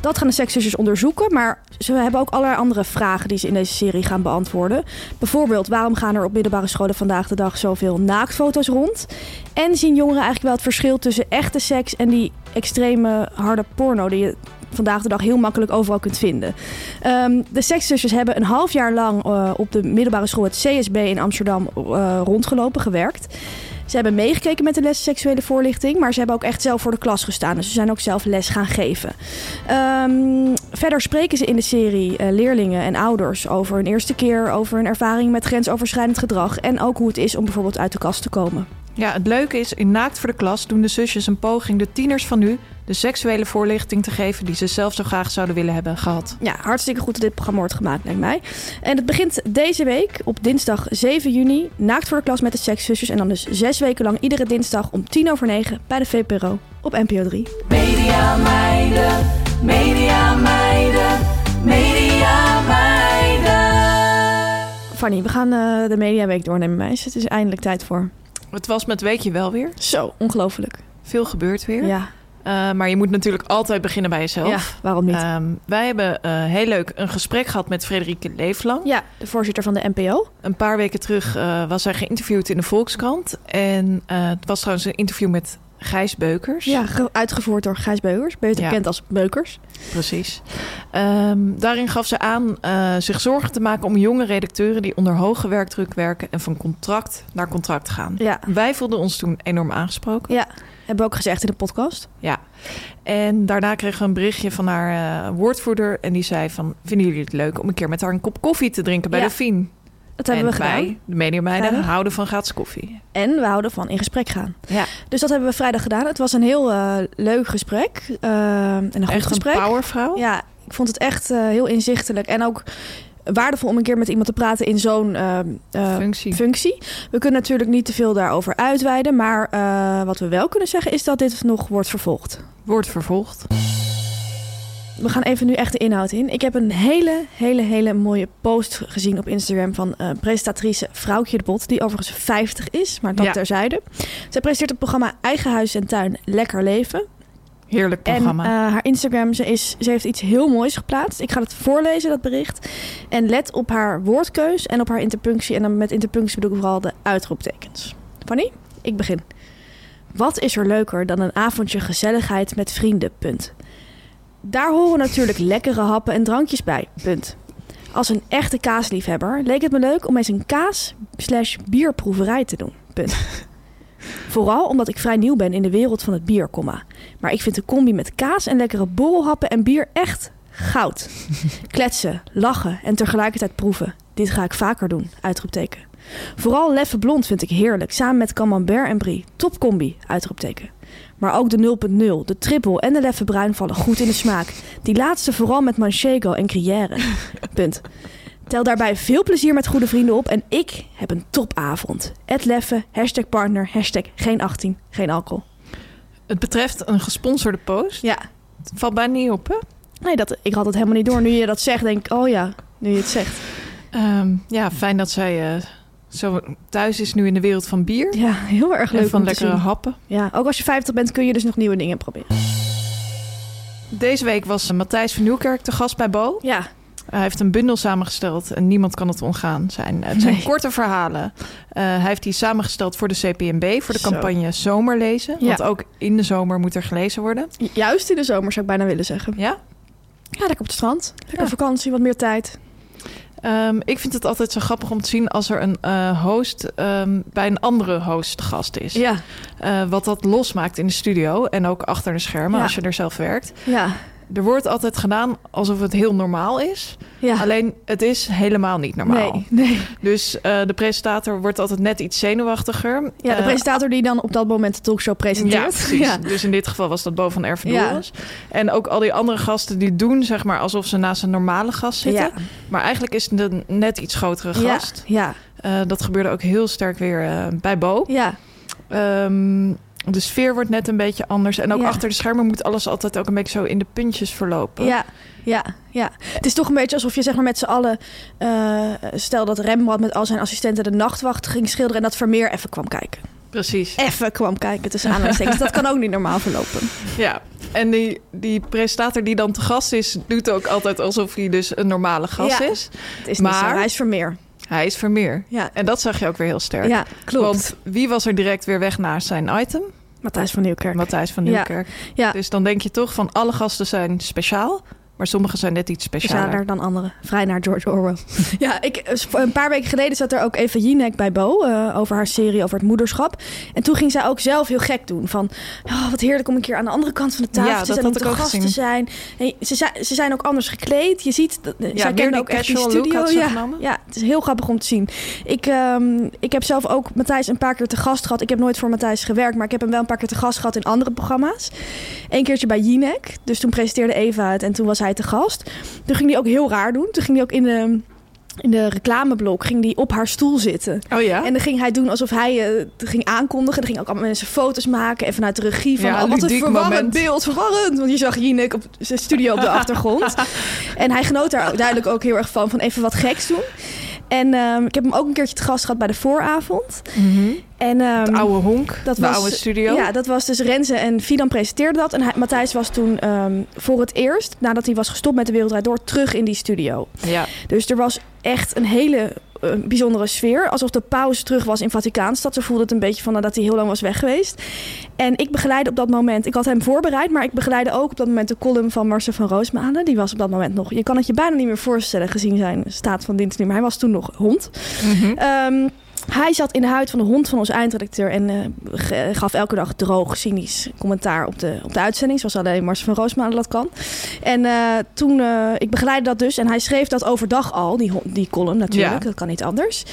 [SPEAKER 2] Dat gaan de seksjusjes onderzoeken, maar ze hebben ook allerlei andere vragen die ze in deze serie gaan beantwoorden. Bijvoorbeeld, waarom gaan er op middelbare scholen vandaag de dag zoveel naaktfoto's rond? En zien jongeren eigenlijk wel het verschil tussen echte seks en die extreme harde porno die je vandaag de dag heel makkelijk overal kunt vinden. Ehm, de seksjusjes hebben een half jaar lang eh, op de middelbare school het CSB in Amsterdam eh, rondgelopen, gewerkt. Ze hebben meegekeken met de les seksuele voorlichting, maar ze hebben ook echt zelf voor de klas gestaan. Dus ze zijn ook zelf les gaan geven. Ehm, verder spreken ze in de serie eh, leerlingen en ouders over hun eerste keer, over hun ervaring met grensoverschrijdend gedrag en ook hoe het is om bijvoorbeeld uit de kast te komen.
[SPEAKER 1] Ja, het leuke is, in Naakt voor de Klas doen de zusjes een poging de tieners van nu de seksuele voorlichting te geven die ze zelf zo graag zouden willen hebben gehad.
[SPEAKER 2] Ja, hartstikke goed dat dit programma wordt gemaakt, lijkt mij. En het begint deze week op dinsdag 7 juni, naakt voor de klas met de sekszusjes. En dan dus zes weken lang iedere dinsdag om tien over negen bij de VPRO op NPO 3.
[SPEAKER 3] Media meiden, media meiden, media meiden.
[SPEAKER 2] Fanny, we gaan eh, de Mediaweek doornemen, meisjes. Het is eindelijk tijd voor.
[SPEAKER 1] Het was met Weekje wel weer.
[SPEAKER 2] Zo, ongelooflijk.
[SPEAKER 1] Veel gebeurt weer.
[SPEAKER 2] Ja,
[SPEAKER 1] Eh, maar je moet natuurlijk altijd beginnen bij jezelf.
[SPEAKER 2] ja, waarom niet?
[SPEAKER 1] Ehm, wij hebben eh, heel leuk een gesprek gehad met Frederike Leeflang.
[SPEAKER 2] ja, de voorzitter van de NPO.
[SPEAKER 1] Een paar weken terug eh, was zij geïnterviewd in de Volkskrant. En eh, het was trouwens een interview met Gijs Beukers.
[SPEAKER 2] Ja, ge- uitgevoerd door Gijs Beukers, beter
[SPEAKER 1] Ja.
[SPEAKER 2] bekend als Beukers.
[SPEAKER 1] Precies. Ehm, daarin gaf ze aan eh, zich zorgen te maken om jonge redacteuren die onder hoge werkdruk werken en van contract naar contract gaan.
[SPEAKER 2] Ja.
[SPEAKER 1] Wij voelden ons toen enorm aangesproken.
[SPEAKER 2] Ja, hebben we ook gezegd in de podcast.
[SPEAKER 1] Ja. En daarna kregen we een berichtje van haar eh, woordvoerder en die zei van vinden jullie het leuk om een keer met haar een kop koffie te drinken bij
[SPEAKER 2] Ja.
[SPEAKER 1] de Fien?
[SPEAKER 2] Dat hebben
[SPEAKER 1] en
[SPEAKER 2] we gedaan.
[SPEAKER 1] wij, de mediameiden,
[SPEAKER 2] Vrijdag.
[SPEAKER 1] houden van gratis koffie.
[SPEAKER 2] En we houden van in gesprek gaan.
[SPEAKER 1] Ja.
[SPEAKER 2] Dus dat hebben we vrijdag gedaan. Het was een heel eh, leuk gesprek. eh, en een goed
[SPEAKER 1] Echt
[SPEAKER 2] gesprek.
[SPEAKER 1] een powervrouw.
[SPEAKER 2] Ja, ik vond het echt eh, heel inzichtelijk. En ook waardevol om een keer met iemand te praten in zo'n eh, eh,
[SPEAKER 1] Functie.
[SPEAKER 2] functie. We kunnen natuurlijk niet te veel daarover uitweiden. Maar eh, wat we wel kunnen zeggen is dat dit nog wordt vervolgd.
[SPEAKER 1] Wordt vervolgd.
[SPEAKER 2] We gaan even nu echt de inhoud in. Ik heb een hele, hele, hele mooie post gezien op Instagram van eh, presentatrice Vrouwtje de Bot, die overigens 50 is, maar dat
[SPEAKER 1] Ja.
[SPEAKER 2] terzijde. Zij presenteert het programma Eigen Huis en Tuin Lekker Leven.
[SPEAKER 1] Heerlijk
[SPEAKER 2] En
[SPEAKER 1] programma.
[SPEAKER 2] eh, haar Instagram, ze, is, ze heeft iets heel moois geplaatst. Ik ga het voorlezen, dat bericht. En let op haar woordkeus en op haar interpunctie. En dan met interpunctie bedoel ik vooral de uitroeptekens. Fanny, ik begin. Wat is er leuker dan een avondje gezelligheid met vrienden, punt. Daar horen natuurlijk (laughs) lekkere happen en drankjes bij, punt. Als een echte kaasliefhebber leek het me leuk om eens een kaas slash bierproeverij te doen, punt. Vooral omdat ik vrij nieuw ben in de wereld van het bier, komma. Maar ik vind de combi met kaas en lekkere borrelhappen en bier echt goud. Kletsen, lachen en tegelijkertijd proeven. Dit ga ik vaker doen, uitroepteken. Vooral Leffe Blond vind ik heerlijk, samen met Camembert en Brie. Topcombi, uitroepteken. Maar ook de 0.0, de triple en de Leffe Bruin vallen goed in de smaak. Die laatste vooral met Manchego en Gruyère. Punt. Tel daarbij veel plezier met goede vrienden op en ik heb een topavond. Het Leffe, hashtag partner, hashtag geen 18, geen alcohol.
[SPEAKER 1] Het betreft een gesponsorde post.
[SPEAKER 2] Ja,
[SPEAKER 1] Het valt bijna niet op, hè?
[SPEAKER 2] nee, dat, ik had het helemaal niet door. Nu je dat zegt, denk ik, oh ja, nu je het zegt.
[SPEAKER 1] Ehm, ja, fijn dat zij eh, zo thuis is nu in de wereld van bier.
[SPEAKER 2] Ja, heel erg leuk
[SPEAKER 1] en van
[SPEAKER 2] om te
[SPEAKER 1] lekkere
[SPEAKER 2] zien.
[SPEAKER 1] happen.
[SPEAKER 2] Ja, ook als je 50 bent kun je dus nog nieuwe dingen proberen.
[SPEAKER 1] Deze week was eh, Matthijs van Nieuwkerk te gast bij Bo.
[SPEAKER 2] Ja,
[SPEAKER 1] Hij heeft een bundel samengesteld en niemand kan het ontgaan zijn. Het zijn
[SPEAKER 2] Nee.
[SPEAKER 1] korte verhalen. Eh, hij heeft die samengesteld voor de CPMB, voor de
[SPEAKER 2] Zo.
[SPEAKER 1] campagne Zomerlezen.
[SPEAKER 2] Ja.
[SPEAKER 1] Want ook in de zomer moet er gelezen worden.
[SPEAKER 2] ju- juist in de zomer zou ik bijna willen zeggen.
[SPEAKER 1] Ja?
[SPEAKER 2] Ja, lekker op het strand. Lekker
[SPEAKER 1] Ja.
[SPEAKER 2] vakantie, wat meer tijd.
[SPEAKER 1] Ehm, ik vind het altijd zo grappig om te zien als er een eh, host ehm, bij een andere host te gast is.
[SPEAKER 2] Ja,
[SPEAKER 1] Eh, wat dat losmaakt in de studio en ook achter de schermen
[SPEAKER 2] Ja.
[SPEAKER 1] als je er zelf werkt.
[SPEAKER 2] ja,
[SPEAKER 1] Er wordt altijd gedaan alsof het heel normaal is.
[SPEAKER 2] ja.
[SPEAKER 1] Alleen het is helemaal niet normaal.
[SPEAKER 2] Nee, nee.
[SPEAKER 1] Dus eh, de presentator wordt altijd net iets zenuwachtiger.
[SPEAKER 2] Ja, de
[SPEAKER 1] Eh,
[SPEAKER 2] presentator die dan op dat moment de talkshow
[SPEAKER 1] Ja,
[SPEAKER 2] presenteert.
[SPEAKER 1] precies. Dus in dit geval was dat Bo van
[SPEAKER 2] Ja.
[SPEAKER 1] Erfendoel. En ook al die andere gasten die doen zeg maar alsof ze naast een normale gast zitten.
[SPEAKER 2] Ja.
[SPEAKER 1] Maar eigenlijk is het een net iets grotere
[SPEAKER 2] Ja,
[SPEAKER 1] gast.
[SPEAKER 2] ja,
[SPEAKER 1] Eh, dat gebeurde ook heel sterk weer eh, bij Bo.
[SPEAKER 2] ja,
[SPEAKER 1] Ehm, de sfeer wordt net een beetje anders. En ook
[SPEAKER 2] Ja.
[SPEAKER 1] achter de schermen moet alles altijd ook een beetje zo in de puntjes verlopen.
[SPEAKER 2] ja, ja, ja. Het is toch een beetje alsof je zeg maar met z'n allen... eh, stel dat Rembrandt met al zijn assistenten de nachtwacht ging schilderen... en dat Vermeer even kwam kijken.
[SPEAKER 1] Precies.
[SPEAKER 2] Even kwam kijken tussen (laughs) aanhalingstekens. dat kan ook niet normaal verlopen.
[SPEAKER 1] Ja. En die, die presentator die dan te gast is, doet ook altijd alsof hij dus een normale gast
[SPEAKER 2] Ja.
[SPEAKER 1] is.
[SPEAKER 2] Het is niet
[SPEAKER 1] Maar-
[SPEAKER 2] zo, hij is Vermeer.
[SPEAKER 1] Hij is Vermeer.
[SPEAKER 2] Ja.
[SPEAKER 1] En dat zag je ook weer heel sterk.
[SPEAKER 2] Ja, klopt.
[SPEAKER 1] Want wie was er direct weer weg naar zijn item?
[SPEAKER 2] Matthijs van Nieuwkerk.
[SPEAKER 1] Matthijs van
[SPEAKER 2] Ja.
[SPEAKER 1] Nieuwkerk.
[SPEAKER 2] Ja.
[SPEAKER 1] Dus dan denk je toch van alle gasten zijn speciaal, maar sommige zijn net iets specialer.
[SPEAKER 2] Specialer dan anderen. Vrij naar George Orwell. (laughs) ja, ik, eh, een paar weken geleden zat er ook even Jinek bij Bo. eh, over haar serie over het moederschap. En toen ging zij ook zelf heel gek doen. Van, oh, wat heerlijk om een keer aan de andere kant van de tafel
[SPEAKER 1] Ja,
[SPEAKER 2] te
[SPEAKER 1] dat
[SPEAKER 2] zitten. En om
[SPEAKER 1] had
[SPEAKER 2] te
[SPEAKER 1] ik ook
[SPEAKER 2] gast te
[SPEAKER 1] gezien.
[SPEAKER 2] zijn. En ze, zijn- ze zijn ook anders gekleed. Je ziet, dat, eh, zij
[SPEAKER 1] weer
[SPEAKER 2] kennen
[SPEAKER 1] die
[SPEAKER 2] ook echt die
[SPEAKER 1] casual look
[SPEAKER 2] studio.
[SPEAKER 1] had ze
[SPEAKER 2] ja,
[SPEAKER 1] genomen.
[SPEAKER 2] ja, het is heel grappig om te zien. Ik, ehm, ik heb zelf ook Matthijs een paar keer te gast gehad. Ik heb nooit voor Matthijs gewerkt, maar ik heb hem wel een paar keer te gast gehad in andere programma's. Eén keertje bij Jinek. Dus toen presenteerde Eva het en toen was hij te gast. Toen ging hij ook heel raar doen. Toen ging hij ook in de, in de reclameblok ging hij op haar stoel zitten.
[SPEAKER 1] Oh ja?
[SPEAKER 2] En dan ging hij doen alsof hij eh, het ging aankondigen. Dan ging ook allemaal mensen foto's maken. En vanuit de regie van...
[SPEAKER 1] Ja,
[SPEAKER 2] oh, wat een
[SPEAKER 1] ludiek
[SPEAKER 2] verwarrend
[SPEAKER 1] moment.
[SPEAKER 2] beeld, verwarrend. Want je zag Jinek op zijn studio op
[SPEAKER 1] (laughs)
[SPEAKER 2] de achtergrond. En hij genoot daar ook duidelijk ook heel erg van. Van even wat geks doen. En ehm, ik heb hem ook een keertje te gast gehad bij de vooravond. En, ehm,
[SPEAKER 1] Het oude honk,
[SPEAKER 2] dat
[SPEAKER 1] Mhm. de
[SPEAKER 2] was,
[SPEAKER 1] oude studio.
[SPEAKER 2] Ja, dat was dus Renze en Fidan presenteerden dat. En hij- Matthijs was toen ehm, voor het eerst, nadat hij was gestopt met de Wereldrijd Door, terug in die studio.
[SPEAKER 1] Ja.
[SPEAKER 2] Dus er was echt een hele eh, bijzondere sfeer. Alsof de paus terug was in Vaticaanstad. Ze voelde het een beetje van nadat hij heel lang was weg geweest. En ik begeleidde op dat moment... Ik had hem voorbereid, maar ik begeleidde ook op dat moment... de column van Marcel van Roosmalen. Die was op dat moment nog... Je kan het je bijna niet meer voorstellen gezien zijn staat van dienst. niet meer. Hij was toen nog hond. Ehm, hij zat in de huid van de hond van onze eindredacteur en eh, ge- gaf elke dag droog, cynisch commentaar op de, op de uitzending. Zoals alleen Mars van Roosmalen dat kan. En eh, toen, eh, ik begeleidde dat dus. En hij schreef dat overdag al, die, hon- die column natuurlijk.
[SPEAKER 1] Ja.
[SPEAKER 2] Dat kan niet anders.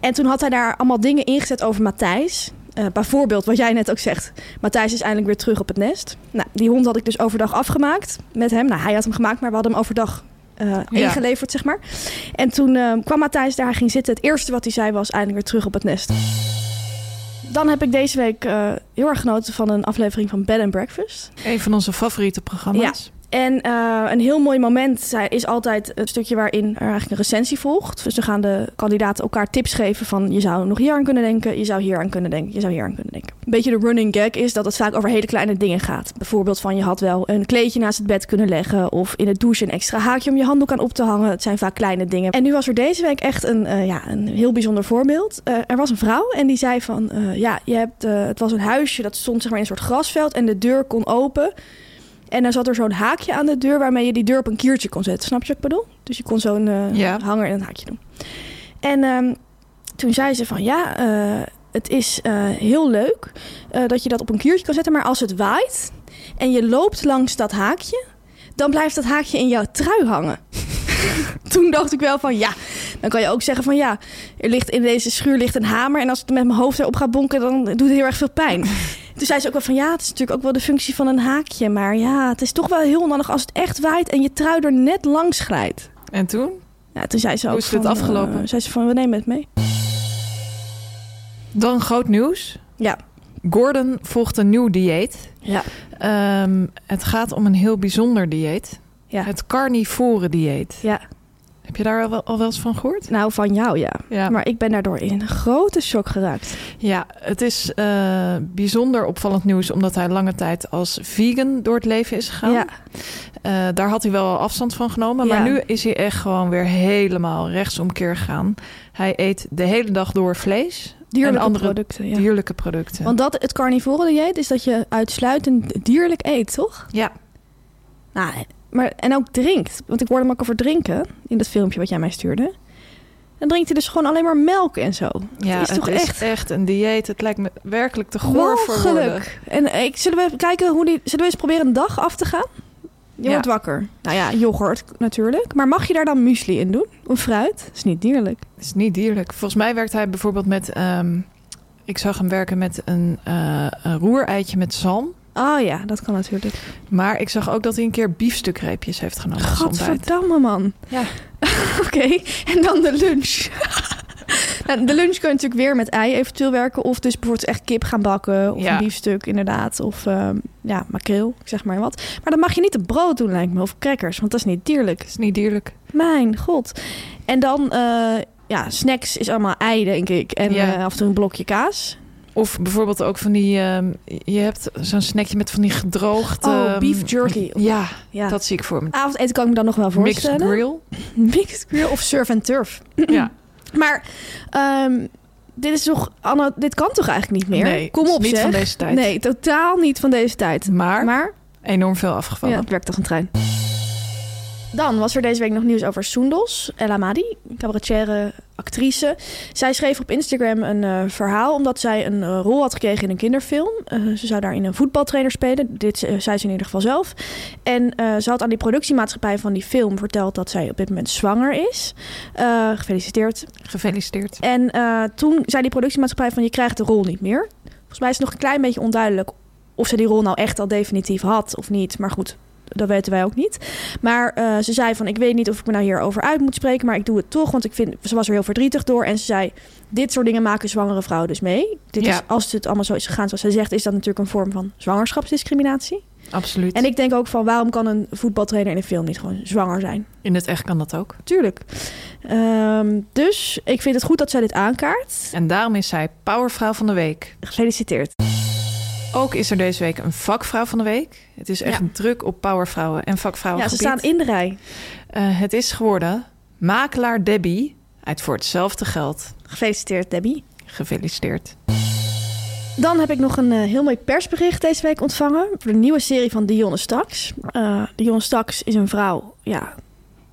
[SPEAKER 2] En toen had hij daar allemaal dingen ingezet over Matthijs. Eh, bijvoorbeeld wat jij net ook zegt. Matthijs is eindelijk weer terug op het nest. Nou, die hond had ik dus overdag afgemaakt met hem. Nou, hij had hem gemaakt, maar we hadden hem overdag eh,
[SPEAKER 1] Ja.
[SPEAKER 2] ingeleverd, zeg maar. En toen eh, kwam Matthijs daar, hij ging zitten. Het eerste wat hij zei was eindelijk weer terug op het nest. Dan heb ik deze week eh, heel erg genoten van een aflevering van Bed and Breakfast.
[SPEAKER 1] Een van onze favoriete programma's.
[SPEAKER 2] En eh, een heel mooi moment zij- is altijd het stukje waarin er eigenlijk een recensie volgt. Dus dan gaan de kandidaten elkaar tips geven van je zou nog hier aan kunnen denken, je zou hier aan kunnen denken, je zou hier aan kunnen denken. Een beetje de running gag is dat het vaak over hele kleine dingen gaat. Bijvoorbeeld van je had wel een kleedje naast het bed kunnen leggen of in het douche een extra haakje om je handdoek aan op te hangen. Het zijn vaak kleine dingen. En nu was er deze week echt een, eh, ja, een heel bijzonder voorbeeld. Eh, er was een vrouw en die zei van eh, ja, je hebt, eh, het was een huisje dat stond zeg maar in een soort grasveld en de deur kon open. En dan zat er zo'n haakje aan de deur waarmee je die deur op een kiertje kon zetten. Snap je wat ik bedoel? Dus je kon zo'n eh,
[SPEAKER 1] Ja.
[SPEAKER 2] hanger en een haakje doen. En ehm, toen zei ze van ja, eh, het is eh, heel leuk eh, dat je dat op een kiertje kan zetten. Maar als het waait en je loopt langs dat (laughs) haakje, dan blijft dat haakje in jouw trui hangen. toen dacht ik wel van ja, Dan kan je ook zeggen van ja, er ligt in deze schuur ligt een hamer. En als ik met mijn hoofd erop ga bonken, dan doet het heel erg veel
[SPEAKER 1] (laughs)
[SPEAKER 2] pijn. Toen zei ze ook wel van ja, het is natuurlijk ook wel de functie van een haakje. Maar ja, het is toch wel heel handig als het echt waait en je trui er net langs glijdt.
[SPEAKER 1] En toen?
[SPEAKER 2] Ja, toen zei ze ook
[SPEAKER 1] Hoe is dit
[SPEAKER 2] van,
[SPEAKER 1] afgelopen?
[SPEAKER 2] eh, zei ze van we nemen het mee.
[SPEAKER 1] Dan groot nieuws.
[SPEAKER 2] Ja.
[SPEAKER 1] Gordon volgt een nieuw dieet.
[SPEAKER 2] Ja.
[SPEAKER 1] Ehm, het gaat om een heel bijzonder dieet.
[SPEAKER 2] Ja.
[SPEAKER 1] Het carnivore dieet.
[SPEAKER 2] Ja.
[SPEAKER 1] Heb je daar al wel, al wel eens van gehoord?
[SPEAKER 2] Nou, van jou ja.
[SPEAKER 1] Ja.
[SPEAKER 2] Maar ik ben daardoor in een grote shock geraakt.
[SPEAKER 1] Ja, het is eh, bijzonder opvallend nieuws... omdat hij lange tijd als vegan door het leven is gegaan.
[SPEAKER 2] Ja.
[SPEAKER 1] Eh, daar had hij wel afstand van genomen. Maar
[SPEAKER 2] Ja.
[SPEAKER 1] nu is hij echt gewoon weer helemaal rechtsomkeer gegaan. Hij eet de hele dag door vlees.
[SPEAKER 2] Dierlijke
[SPEAKER 1] en andere
[SPEAKER 2] producten. Ja.
[SPEAKER 1] dierlijke producten.
[SPEAKER 2] Want dat, het carnivore dieet is dat je uitsluitend dierlijk eet, toch?
[SPEAKER 1] Ja,
[SPEAKER 2] Nou, maar, en ook drinkt. Want ik hoorde hem ook over drinken in dat filmpje wat jij mij stuurde. Dan drinkt hij dus gewoon alleen maar melk en zo.
[SPEAKER 1] ja
[SPEAKER 2] dat is
[SPEAKER 1] het
[SPEAKER 2] toch
[SPEAKER 1] is
[SPEAKER 2] echt
[SPEAKER 1] echt een dieet. Het lijkt me werkelijk te goor voor woorden.
[SPEAKER 2] Walgelijk. En eh, ik, zullen we even kijken hoe die. Zullen we eens proberen een dag af te gaan? Je
[SPEAKER 1] Ja.
[SPEAKER 2] wordt wakker. Nou ja, yoghurt natuurlijk. Maar mag je daar dan muesli in doen? Of fruit? Dat is niet dierlijk.
[SPEAKER 1] Het is niet dierlijk. Volgens mij werkt hij bijvoorbeeld met... ehm, ik zag hem werken met een, eh een roereitje met zalm.
[SPEAKER 2] Oh ja, dat kan natuurlijk.
[SPEAKER 1] Maar ik zag ook dat hij een keer biefstukreepjes heeft genomen als ontbijt.
[SPEAKER 2] Gadverdamme man.
[SPEAKER 1] Ja.
[SPEAKER 2] (laughs) Oké, en dan de lunch. (laughs) Nou, de lunch kun je natuurlijk weer met ei eventueel werken. Of dus bijvoorbeeld echt kip gaan bakken. Of
[SPEAKER 1] Ja.
[SPEAKER 2] een biefstuk inderdaad. Of ehm, ja, makreel, ik zeg maar wat. Maar dan mag je niet een brood doen lijkt me. Of crackers, want dat is niet dierlijk.
[SPEAKER 1] Het is niet dierlijk.
[SPEAKER 2] Mijn god. En dan, eh, ja, snacks is allemaal ei denk ik. En
[SPEAKER 1] Ja.
[SPEAKER 2] eh, af en toe een blokje kaas.
[SPEAKER 1] Of bijvoorbeeld ook van die... ehm, je hebt zo'n snackje met van die gedroogde...
[SPEAKER 2] Oh,
[SPEAKER 1] ehm,
[SPEAKER 2] beef jerky.
[SPEAKER 1] Ja,
[SPEAKER 2] (laughs) Ja.
[SPEAKER 1] dat zie ik voor me.
[SPEAKER 2] Avondeten kan ik me dan nog wel
[SPEAKER 1] Mixed
[SPEAKER 2] voorstellen. (clears throat)
[SPEAKER 1] grill.
[SPEAKER 2] (laughs) Mixed grill of surf and turf.
[SPEAKER 1] Ja.
[SPEAKER 2] Maar ehm, dit is toch, Anne, dit kan toch eigenlijk niet meer?
[SPEAKER 1] Nee,
[SPEAKER 2] Kom
[SPEAKER 1] het is
[SPEAKER 2] op,
[SPEAKER 1] niet
[SPEAKER 2] zeg.
[SPEAKER 1] van deze tijd.
[SPEAKER 2] Nee, totaal niet van deze tijd.
[SPEAKER 1] Maar,
[SPEAKER 2] Maar
[SPEAKER 1] enorm veel
[SPEAKER 2] ja,
[SPEAKER 1] afgevallen.
[SPEAKER 2] het werkt als een trein. Dan was er deze week nog nieuws over Soendos El Amadi, cabaretière, actrice. Zij schreef op Instagram een eh, verhaal omdat zij een eh, rol had gekregen in een kinderfilm. Eh, ze zou daarin een voetbaltrainer spelen. Dit eh, zei ze in ieder geval zelf. En eh, ze had aan die productiemaatschappij van die film verteld dat zij op dit moment zwanger is. Eh, gefeliciteerd.
[SPEAKER 1] Gefeliciteerd.
[SPEAKER 2] En eh, toen zei die productiemaatschappij van je krijgt de rol niet meer. Volgens mij is het nog een klein beetje onduidelijk of ze die rol nou echt al definitief had of niet. Maar goed, dat weten wij ook niet. Maar eh, ze zei van ik weet niet of ik me nou hierover uit moet spreken, maar ik doe het toch. Want ik vind, ze was er heel verdrietig door. En ze zei, dit soort dingen maken zwangere vrouwen dus mee. Dit
[SPEAKER 1] Ja.
[SPEAKER 2] is, als het allemaal zo is gegaan zoals zij zegt, is dat natuurlijk een vorm van zwangerschapsdiscriminatie.
[SPEAKER 1] Absoluut.
[SPEAKER 2] En ik denk ook van waarom kan een voetbaltrainer in een film niet gewoon zwanger zijn?
[SPEAKER 1] In het echt kan dat ook.
[SPEAKER 2] Tuurlijk. Ehm, dus ik vind het goed dat zij dit aankaart.
[SPEAKER 1] En daarom is zij Powervrouw van de Week.
[SPEAKER 2] Gefeliciteerd.
[SPEAKER 1] Ook is er deze week een Vakvrouw van de Week. Het is echt druk op Powervrouwen en Vakvrouwen. Eh,
[SPEAKER 2] Ja, ze staan in de rij.
[SPEAKER 1] het is geworden Makelaar Debbie uit Voor Hetzelfde Geld.
[SPEAKER 2] Gefeliciteerd, Debbie.
[SPEAKER 1] Gefeliciteerd.
[SPEAKER 2] Dan heb ik nog een eh, heel mooi persbericht deze week ontvangen. Voor de nieuwe serie van Dionne Staks. Eh, Dionne Staks is een vrouw. Ja,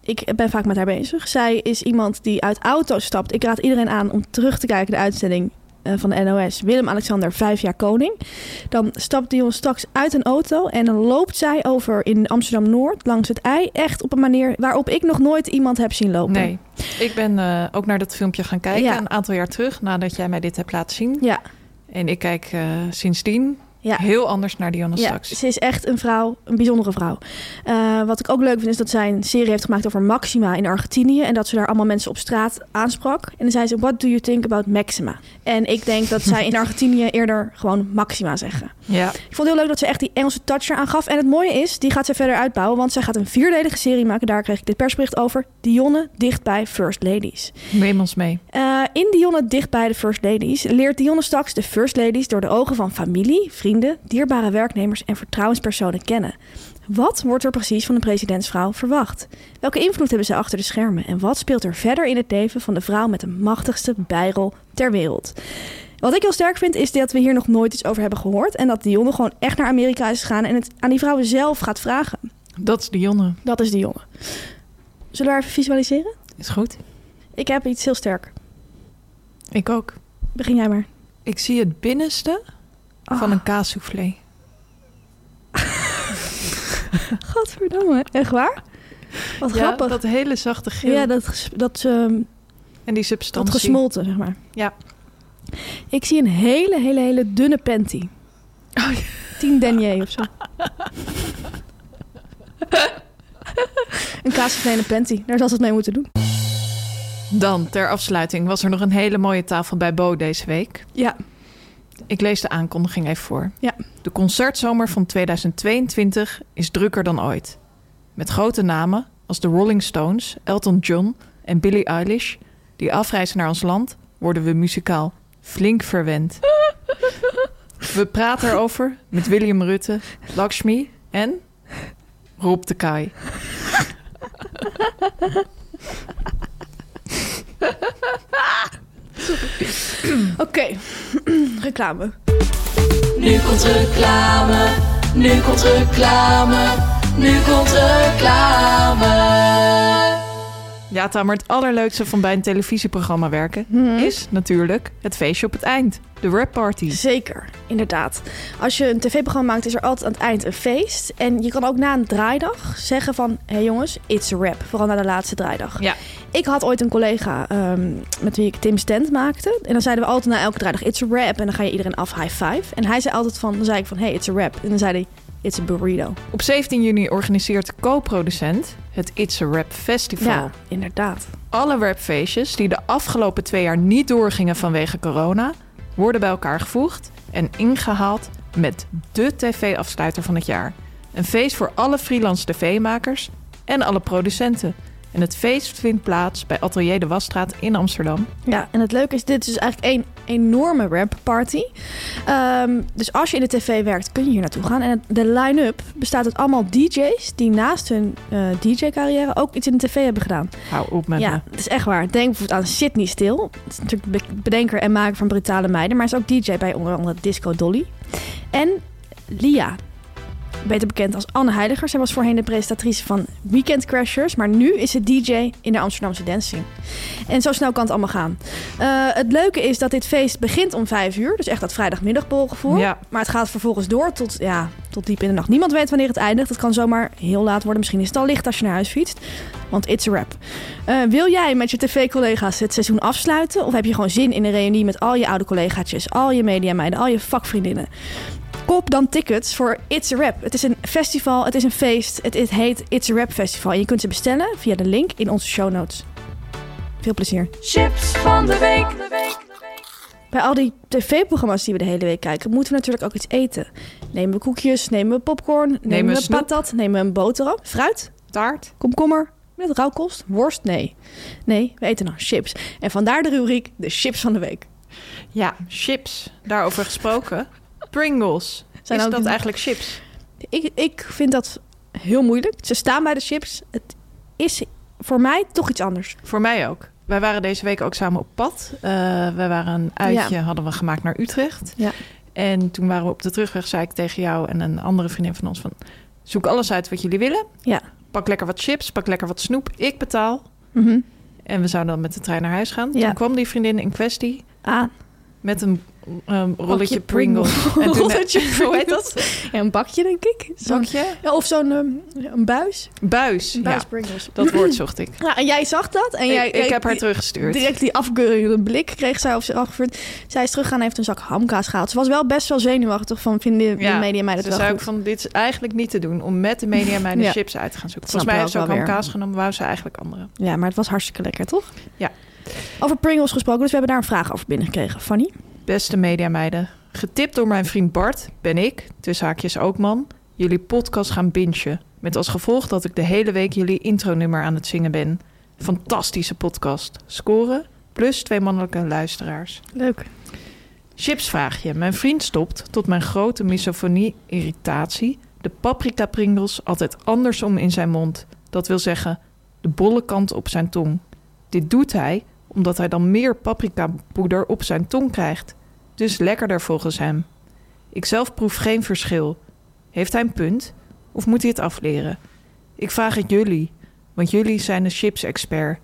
[SPEAKER 2] ik ben vaak met haar bezig. Zij is iemand die uit auto's stapt. Ik raad iedereen aan om terug te kijken de uitzending eh, van de NOS. Willem-Alexander, vijf jaar koning. Dan stapt Dionne Staks uit een auto. En dan loopt zij over in Amsterdam-Noord langs het ei. Echt op een manier waarop ik nog nooit iemand heb zien lopen.
[SPEAKER 1] Nee, ik ben eh, ook naar dat filmpje gaan kijken
[SPEAKER 2] Ja.
[SPEAKER 1] een aantal jaar terug nadat jij mij dit hebt laten zien.
[SPEAKER 2] Ja,
[SPEAKER 1] En ik kijk eh, sindsdien
[SPEAKER 2] ja.
[SPEAKER 1] heel anders naar Dionne
[SPEAKER 2] Ja,
[SPEAKER 1] straks.
[SPEAKER 2] ze is echt een vrouw, een bijzondere vrouw. Eh, wat ik ook leuk vind is dat zij een serie heeft gemaakt over Maxima in Argentinië. En dat ze daar allemaal mensen op straat aansprak. En dan zei ze, what do you think about Maxima? En ik denk dat zij in Argentinië eerder gewoon Maxima zeggen.
[SPEAKER 1] Ja,
[SPEAKER 2] Ik vond het heel leuk dat ze echt die Engelse touch eraan gaf. En het mooie is, die gaat ze verder uitbouwen. Want zij gaat een vierdelige serie maken. Daar kreeg ik dit persbericht over. Dionne dichtbij First Ladies.
[SPEAKER 1] neem ons mee.
[SPEAKER 2] Eh, in Dionne dicht bij de First Ladies leert Dionne straks de First Ladies door de ogen van familie, vrienden, dierbare werknemers en vertrouwenspersonen kennen. Wat wordt er precies van een presidentsvrouw verwacht? Welke invloed hebben zij achter de schermen? En wat speelt er verder in het leven van de vrouw met de machtigste bijrol ter wereld? Wat ik heel sterk vind is dat we hier nog nooit iets over hebben gehoord. En dat Dionne gewoon echt naar Amerika is gegaan en het aan die vrouwen zelf gaat vragen.
[SPEAKER 1] Dat is Dionne.
[SPEAKER 2] Dat is Dionne. Zullen we haar even visualiseren?
[SPEAKER 1] Is goed.
[SPEAKER 2] Ik heb iets heel sterk.
[SPEAKER 1] Ik ook.
[SPEAKER 2] Begin jij maar.
[SPEAKER 1] Ik zie het binnenste
[SPEAKER 2] Ah.
[SPEAKER 1] van een kaassoufflé.
[SPEAKER 2] Godverdamme. Echt waar? Wat
[SPEAKER 1] Ja,
[SPEAKER 2] grappig.
[SPEAKER 1] dat hele zachte geel.
[SPEAKER 2] ja, dat, ges- dat ehm,
[SPEAKER 1] En die
[SPEAKER 2] Dat
[SPEAKER 1] substantie.
[SPEAKER 2] gesmolten, zeg maar.
[SPEAKER 1] Ja.
[SPEAKER 2] Ik zie een hele, hele, hele dunne panty.
[SPEAKER 1] Oh,
[SPEAKER 2] 10 denier of zo.
[SPEAKER 1] (laughs)
[SPEAKER 2] een kaasgekleine panty. Daar zal ze het mee moeten doen.
[SPEAKER 1] Dan, ter afsluiting, was er nog een hele mooie tafel bij Bo deze week.
[SPEAKER 2] Ja.
[SPEAKER 1] Ik lees de aankondiging even voor.
[SPEAKER 2] Ja.
[SPEAKER 1] De concertzomer van 2022 is drukker dan ooit. Met grote namen als de Rolling Stones, Elton John en Billie Eilish... die afreizen naar ons land, worden we muzikaal flink verwend. We praten erover met William Rutte, Lakshmi en Rob de Kaai.
[SPEAKER 2] Oké. (clears throat) Reclame.
[SPEAKER 3] Nu komt reclame, nu komt reclame, nu komt reclame.
[SPEAKER 1] Ja, Tamer, het allerleukste van bij een televisieprogramma werken
[SPEAKER 2] Mhm.
[SPEAKER 1] is natuurlijk het feestje op het eind. De rap party.
[SPEAKER 2] Zeker, inderdaad. Als je een tv-programma maakt, is er altijd aan het eind een feest. En je kan ook na een draaidag zeggen van... Hé hey jongens, it's a rap. Vooral na de laatste draaidag.
[SPEAKER 1] Ja.
[SPEAKER 2] Ik had ooit een collega ehm, met wie ik Tim Stand maakte. En dan zeiden we altijd na elke draaidag, it's a rap. En dan ga je iedereen af, high five. En hij zei altijd van, dan zei ik van, hey, it's a rap. En dan zei hij, it's a burrito.
[SPEAKER 1] Op 17 juni organiseert co-producent het It's a Rap Festival.
[SPEAKER 2] Ja, inderdaad.
[SPEAKER 1] Alle rapfeestjes die de afgelopen twee jaar niet doorgingen vanwege corona... worden bij elkaar gevoegd en ingehaald met de tv-afsluiter van het jaar. Een feest voor alle freelance tv-makers en alle producenten. En het feest vindt plaats bij Atelier de Wasstraat in Amsterdam.
[SPEAKER 2] Ja, en het leuke is, dit is dus eigenlijk één enorme rap party. Ehm, dus als je in de tv werkt, kun je hier naartoe gaan. En het- de line-up bestaat uit allemaal DJ's die naast hun eh, DJ-carrière ook iets in de tv hebben gedaan.
[SPEAKER 1] Hou op met me.
[SPEAKER 2] Ja, dat is echt waar. Denk bijvoorbeeld aan Sydney Stil. Dat is natuurlijk be- bedenker en maker van Brutale Meiden. Maar hij is ook DJ bij onder andere Disco Dolly. En Lia. Beter bekend als Anne Heiliger. Zij was voorheen de presentatrice van Weekend Crashers. Maar nu is ze DJ in de Amsterdamse dancing. En zo snel kan het allemaal gaan. Eh, het leuke is dat dit feest begint om vijf uur. Dus echt dat vrijdagmiddagborgevoel.
[SPEAKER 1] Ja.
[SPEAKER 2] Maar het gaat vervolgens door tot, ja, tot diep in de nacht. Niemand weet wanneer het eindigt. Het kan zomaar heel laat worden. Misschien is het al licht als je naar huis fietst. Want it's a wrap. Eh, wil jij met je tv-collega's het seizoen afsluiten? Of heb je gewoon zin in een reunie met al je oude collegaatjes, al je mediameiden, al je vakvriendinnen? Koop dan tickets voor It's a Rap. Het is een festival, het is een feest. Het, het heet It's a Rap Festival. En je kunt ze bestellen via de link in onze show notes. Veel plezier.
[SPEAKER 3] Chips van de week.
[SPEAKER 2] Bij al die tv-programma's die we de hele week kijken, moeten we natuurlijk ook iets eten. Nemen we koekjes, nemen we popcorn, nemen,
[SPEAKER 1] we
[SPEAKER 2] we
[SPEAKER 1] snoep.
[SPEAKER 2] patat, nemen we een boterham, fruit,
[SPEAKER 1] Taart.
[SPEAKER 2] komkommer, met rauwkost, worst, nee. Nee, we eten dan chips. En vandaar de rubriek de chips van de week.
[SPEAKER 1] Ja, chips. Daarover
[SPEAKER 2] (laughs)
[SPEAKER 1] gesproken. Pringles.
[SPEAKER 2] Zijn
[SPEAKER 1] is
[SPEAKER 2] ook-
[SPEAKER 1] dat eigenlijk chips?
[SPEAKER 2] Ik, ik vind dat heel moeilijk. Ze staan bij de chips. Het is voor mij toch iets anders.
[SPEAKER 1] Voor mij ook. Wij waren deze week ook samen op pad. Eh we waren een uitje, hadden we gemaakt naar Utrecht.
[SPEAKER 2] Ja.
[SPEAKER 1] En toen waren we op de terugweg, zei ik tegen jou en een andere vriendin van ons van... Zoek alles uit wat jullie willen.
[SPEAKER 2] Ja.
[SPEAKER 1] Pak lekker wat chips, pak lekker wat snoep. Ik betaal. En we zouden dan met de trein naar huis gaan.
[SPEAKER 2] Mhm. Ja.
[SPEAKER 1] Toen kwam die vriendin in kwestie
[SPEAKER 2] Ah,
[SPEAKER 1] met een um, rolletje
[SPEAKER 2] Pringles.
[SPEAKER 1] Pringles.
[SPEAKER 2] Een (laughs) rolletje
[SPEAKER 1] (laughs) Hoe heet
[SPEAKER 2] Pringles.
[SPEAKER 1] dat?
[SPEAKER 2] ja, een bakje denk ik. Zo'n-
[SPEAKER 1] Zakje?
[SPEAKER 2] Ja, of zo'n ehm, een buis.
[SPEAKER 1] Buis.
[SPEAKER 2] Een buis
[SPEAKER 1] ja.
[SPEAKER 2] Pringles.
[SPEAKER 1] Dat woord zocht ik.
[SPEAKER 2] Ja, en jij zag dat. En jij,
[SPEAKER 1] ik, ik
[SPEAKER 2] jij-
[SPEAKER 1] heb haar teruggestuurd.
[SPEAKER 2] Direct die afkeurende blik kreeg zij of ze afgevuurd. Zij is teruggegaan en heeft een zak hamkaas gehaald. Ze was wel best wel zenuwachtig van vinden de media mij dat
[SPEAKER 1] dus
[SPEAKER 2] wel
[SPEAKER 1] zei
[SPEAKER 2] goed.
[SPEAKER 1] ook van, dit is eigenlijk niet te doen om met de media mij de
[SPEAKER 2] (laughs) Ja.
[SPEAKER 1] chips uit te gaan zoeken.
[SPEAKER 2] Snap
[SPEAKER 1] Volgens mij
[SPEAKER 2] ik
[SPEAKER 1] heeft ze
[SPEAKER 2] ook
[SPEAKER 1] ook
[SPEAKER 2] wel
[SPEAKER 1] aan
[SPEAKER 2] weer.
[SPEAKER 1] kaas genomen, wou ze eigenlijk andere.
[SPEAKER 2] Ja, maar het was hartstikke lekker, toch?
[SPEAKER 1] Ja.
[SPEAKER 2] Over Pringles gesproken, dus we hebben daar een vraag over binnengekregen. Fanny?
[SPEAKER 1] Beste mediameiden, getipt door mijn vriend Bart ben ik, tussen haakjes ook man, jullie podcast gaan bingen. Met als gevolg dat ik de hele week jullie intronummer aan het zingen ben. Fantastische podcast. Scoren, plus twee mannelijke luisteraars.
[SPEAKER 2] Leuk.
[SPEAKER 1] Chipsvraagje. Mijn vriend stopt, tot mijn grote misofonie-irritatie, de paprika Pringles altijd andersom in zijn mond. Dat wil zeggen, de bolle kant op zijn tong. Dit doet hij omdat hij dan meer paprikapoeder op zijn tong krijgt. Dus lekkerder volgens hem. Ik zelf proef geen verschil. Heeft hij een punt? Of moet hij het afleren? Ik vraag het jullie, want jullie zijn de chips-expert.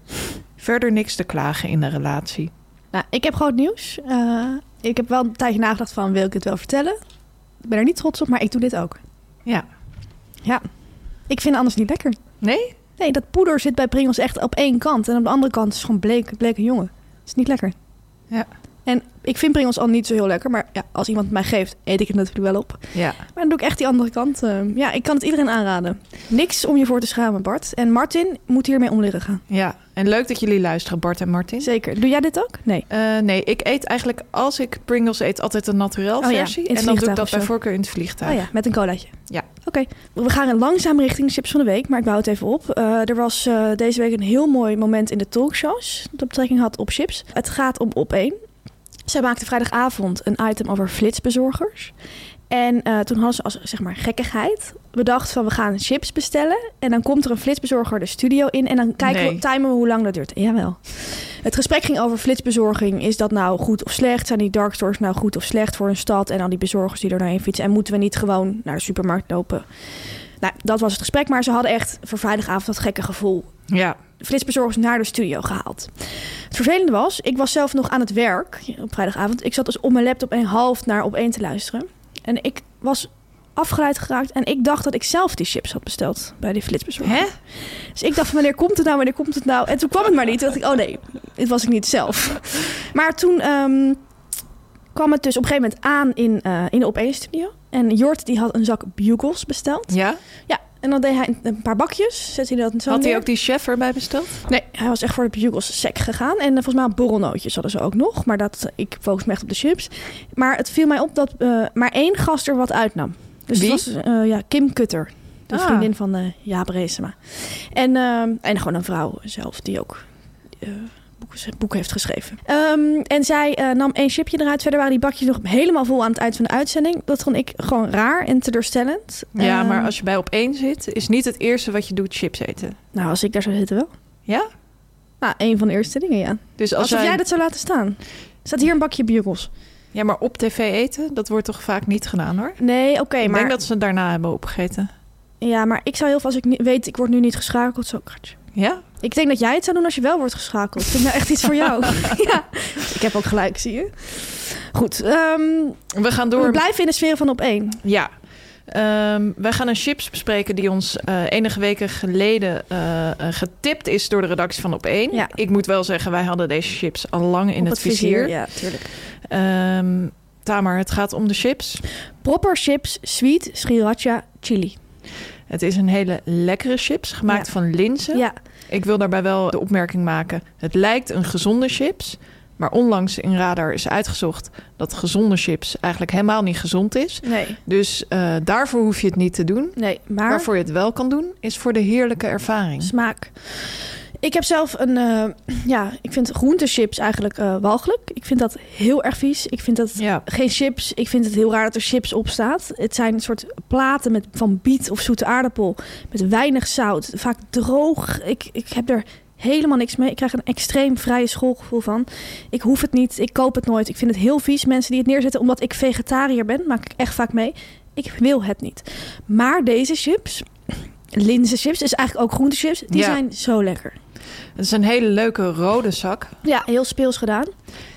[SPEAKER 1] Verder niks te klagen in de relatie.
[SPEAKER 2] Nou, ik heb groot nieuws. Eh, ik heb wel een tijdje nagedacht van, wil ik het wel vertellen? Ik ben er niet trots op, maar ik doe dit ook.
[SPEAKER 1] Ja.
[SPEAKER 2] Ja. Ik vind het anders niet lekker.
[SPEAKER 1] Nee?
[SPEAKER 2] Nee, dat poeder zit bij Pringles echt op één kant. En op de andere kant is het gewoon bleek, bleke jongen. Is niet lekker.
[SPEAKER 1] Ja.
[SPEAKER 2] En ik vind pringels al niet zo heel lekker, maar ja, als iemand het mij geeft, eet ik het natuurlijk wel op.
[SPEAKER 1] Ja.
[SPEAKER 2] Maar dan doe ik echt die andere kant. eh, ja, ik kan het iedereen aanraden. Niks om je voor te schamen, Bart. En Martin moet hiermee om leren gaan.
[SPEAKER 1] ja. En leuk dat jullie luisteren, Bart en Martin.
[SPEAKER 2] Zeker. Doe jij dit ook? Nee.
[SPEAKER 1] Eh, nee, ik eet eigenlijk als ik Pringles eet altijd een naturel
[SPEAKER 2] Oh ja,
[SPEAKER 1] versie.
[SPEAKER 2] in het
[SPEAKER 1] en dan doe ik
[SPEAKER 2] vliegtuig
[SPEAKER 1] dat
[SPEAKER 2] of zo.
[SPEAKER 1] bij voorkeur in het
[SPEAKER 2] Oh
[SPEAKER 1] vliegtuig.
[SPEAKER 2] ja, met een colaatje.
[SPEAKER 1] Ja.
[SPEAKER 2] Oké, we gaan langzaam richting chips van de week, maar ik bouw het even op. Eh, er was eh, deze week een heel mooi moment in de talkshows dat betrekking had op chips. Het gaat om op één. Zij maakte vrijdagavond een item over flitsbezorgers. En eh, toen hadden ze als zeg maar gekkigheid bedacht van we gaan chips bestellen. En dan komt er een flitsbezorger de studio in en dan kijken
[SPEAKER 1] Nee.
[SPEAKER 2] we, timen we hoe lang dat duurt. Jawel. Het gesprek ging over flitsbezorging. Is dat nou goed of slecht? Zijn die dark stores nou goed of slecht voor een stad? En al die bezorgers die er doorheen fietsen. En moeten we niet gewoon naar de supermarkt lopen? Nou, dat was het gesprek. Maar ze hadden echt voor vrijdagavond dat gekke gevoel
[SPEAKER 1] Ja.
[SPEAKER 2] flitsbezorgers naar de studio gehaald. Het vervelende was, ik was zelf nog aan het werk op vrijdagavond. Ik zat dus op mijn laptop en half naar op één te luisteren. En ik was afgeleid geraakt en ik dacht dat ik zelf die chips had besteld bij die flitsbezorger.
[SPEAKER 1] Hè?
[SPEAKER 2] Dus ik dacht van wanneer komt het nou, wanneer komt het nou? En toen kwam het maar niet. Toen dacht ik, oh nee, dit was ik niet zelf. Maar toen ehm, kwam het dus op een gegeven moment aan in, eh, in de op één studio. En Jort die had een zak bugles besteld.
[SPEAKER 1] Ja?
[SPEAKER 2] Ja, en dan deed hij een paar bakjes. Zette hij dat zo
[SPEAKER 1] Had hij
[SPEAKER 2] neer.
[SPEAKER 1] ook die chef erbij besteld?
[SPEAKER 2] Nee, hij was echt voor de bugels sec gegaan. En eh, volgens mij borrelnootjes hadden ze ook nog. Maar dat, eh, ik focus me echt op de chips. Maar het viel mij op dat eh, maar één gast er wat uitnam. Dus
[SPEAKER 1] Wie?
[SPEAKER 2] het was eh, ja, Kim Kutter. De
[SPEAKER 1] Ah.
[SPEAKER 2] vriendin van eh Jaap Reesema. En, ehm, en gewoon een vrouw zelf die ook eh, boeken, boeken heeft geschreven. Ehm, en zij eh, nam één chipje eruit. Verder waren die bakjes nog helemaal vol aan het eind van de uitzending. Dat vond ik gewoon raar en teleurstellend.
[SPEAKER 1] Ja,
[SPEAKER 2] Ehm,
[SPEAKER 1] maar als je bij op één zit, is niet het eerste wat je doet chips eten.
[SPEAKER 2] Nou, als ik daar zou zitten wel.
[SPEAKER 1] Ja?
[SPEAKER 2] Nou, één van de eerste dingen, ja.
[SPEAKER 1] Dus als
[SPEAKER 2] Alsof
[SPEAKER 1] jij...
[SPEAKER 2] jij dat zou laten staan. Staat hier een bakje bugels?
[SPEAKER 1] Ja, maar op tv eten, dat wordt toch vaak niet gedaan hoor?
[SPEAKER 2] Nee, oké,
[SPEAKER 1] ik
[SPEAKER 2] maar...
[SPEAKER 1] denk dat ze het daarna hebben opgegeten.
[SPEAKER 2] Ja, maar ik zou heel veel... Als ik ni- weet, ik word nu niet geschakeld, zo... kratje.
[SPEAKER 1] Ja?
[SPEAKER 2] Ik denk dat jij het zou doen als je wel wordt geschakeld. Vind ik nou echt iets voor (laughs) jou? ja. Ik heb ook gelijk, zie je? Goed, ehm,
[SPEAKER 1] We gaan door.
[SPEAKER 2] we blijven in de sfeer van op één.
[SPEAKER 1] Ja. Ehm, wij gaan een chips bespreken die ons eh, enige weken geleden eh, eh, getipt is door de redactie van Op1.
[SPEAKER 2] Ja.
[SPEAKER 1] Ik moet wel zeggen, wij hadden deze chips al lang in
[SPEAKER 2] Op
[SPEAKER 1] het, vizier.
[SPEAKER 2] Ja, tuurlijk.
[SPEAKER 1] Ehm, Tamer, het gaat om de chips.
[SPEAKER 2] Proper chips, sweet, sriracha, chili.
[SPEAKER 1] Het is een hele lekkere chips, gemaakt
[SPEAKER 2] Ja.
[SPEAKER 1] van linzen.
[SPEAKER 2] Ja,
[SPEAKER 1] Ik wil daarbij wel de opmerking maken. Het lijkt een gezonde chips. Maar onlangs in Radar is uitgezocht dat gezonde chips eigenlijk helemaal niet gezond is.
[SPEAKER 2] nee.
[SPEAKER 1] Dus eh, daarvoor hoef je het niet te doen.
[SPEAKER 2] Nee, maar...
[SPEAKER 1] Waarvoor je het wel kan doen, is voor de heerlijke ervaring.
[SPEAKER 2] smaak. Ik heb zelf een, eh, ja, ik vind groentechips eigenlijk eh, walgelijk. Ik vind dat heel erg vies. Ik vind dat
[SPEAKER 1] Ja.
[SPEAKER 2] geen chips. Ik vind het heel raar dat er chips op staat. Het zijn een soort platen met, van biet of zoete aardappel. Met weinig zout. Vaak droog. Ik, ik heb er helemaal niks mee. Ik krijg een extreem vrije schoolgevoel van. Ik hoef het niet. Ik koop het nooit. Ik vind het heel vies. Mensen die het neerzetten omdat ik vegetariër ben, maak ik echt vaak mee. Ik wil het niet. Maar deze chips, linzenchips, is eigenlijk ook groentechips. Die
[SPEAKER 1] Ja.
[SPEAKER 2] zijn zo lekker.
[SPEAKER 1] Het is een hele leuke rode zak.
[SPEAKER 2] Ja, heel speels gedaan.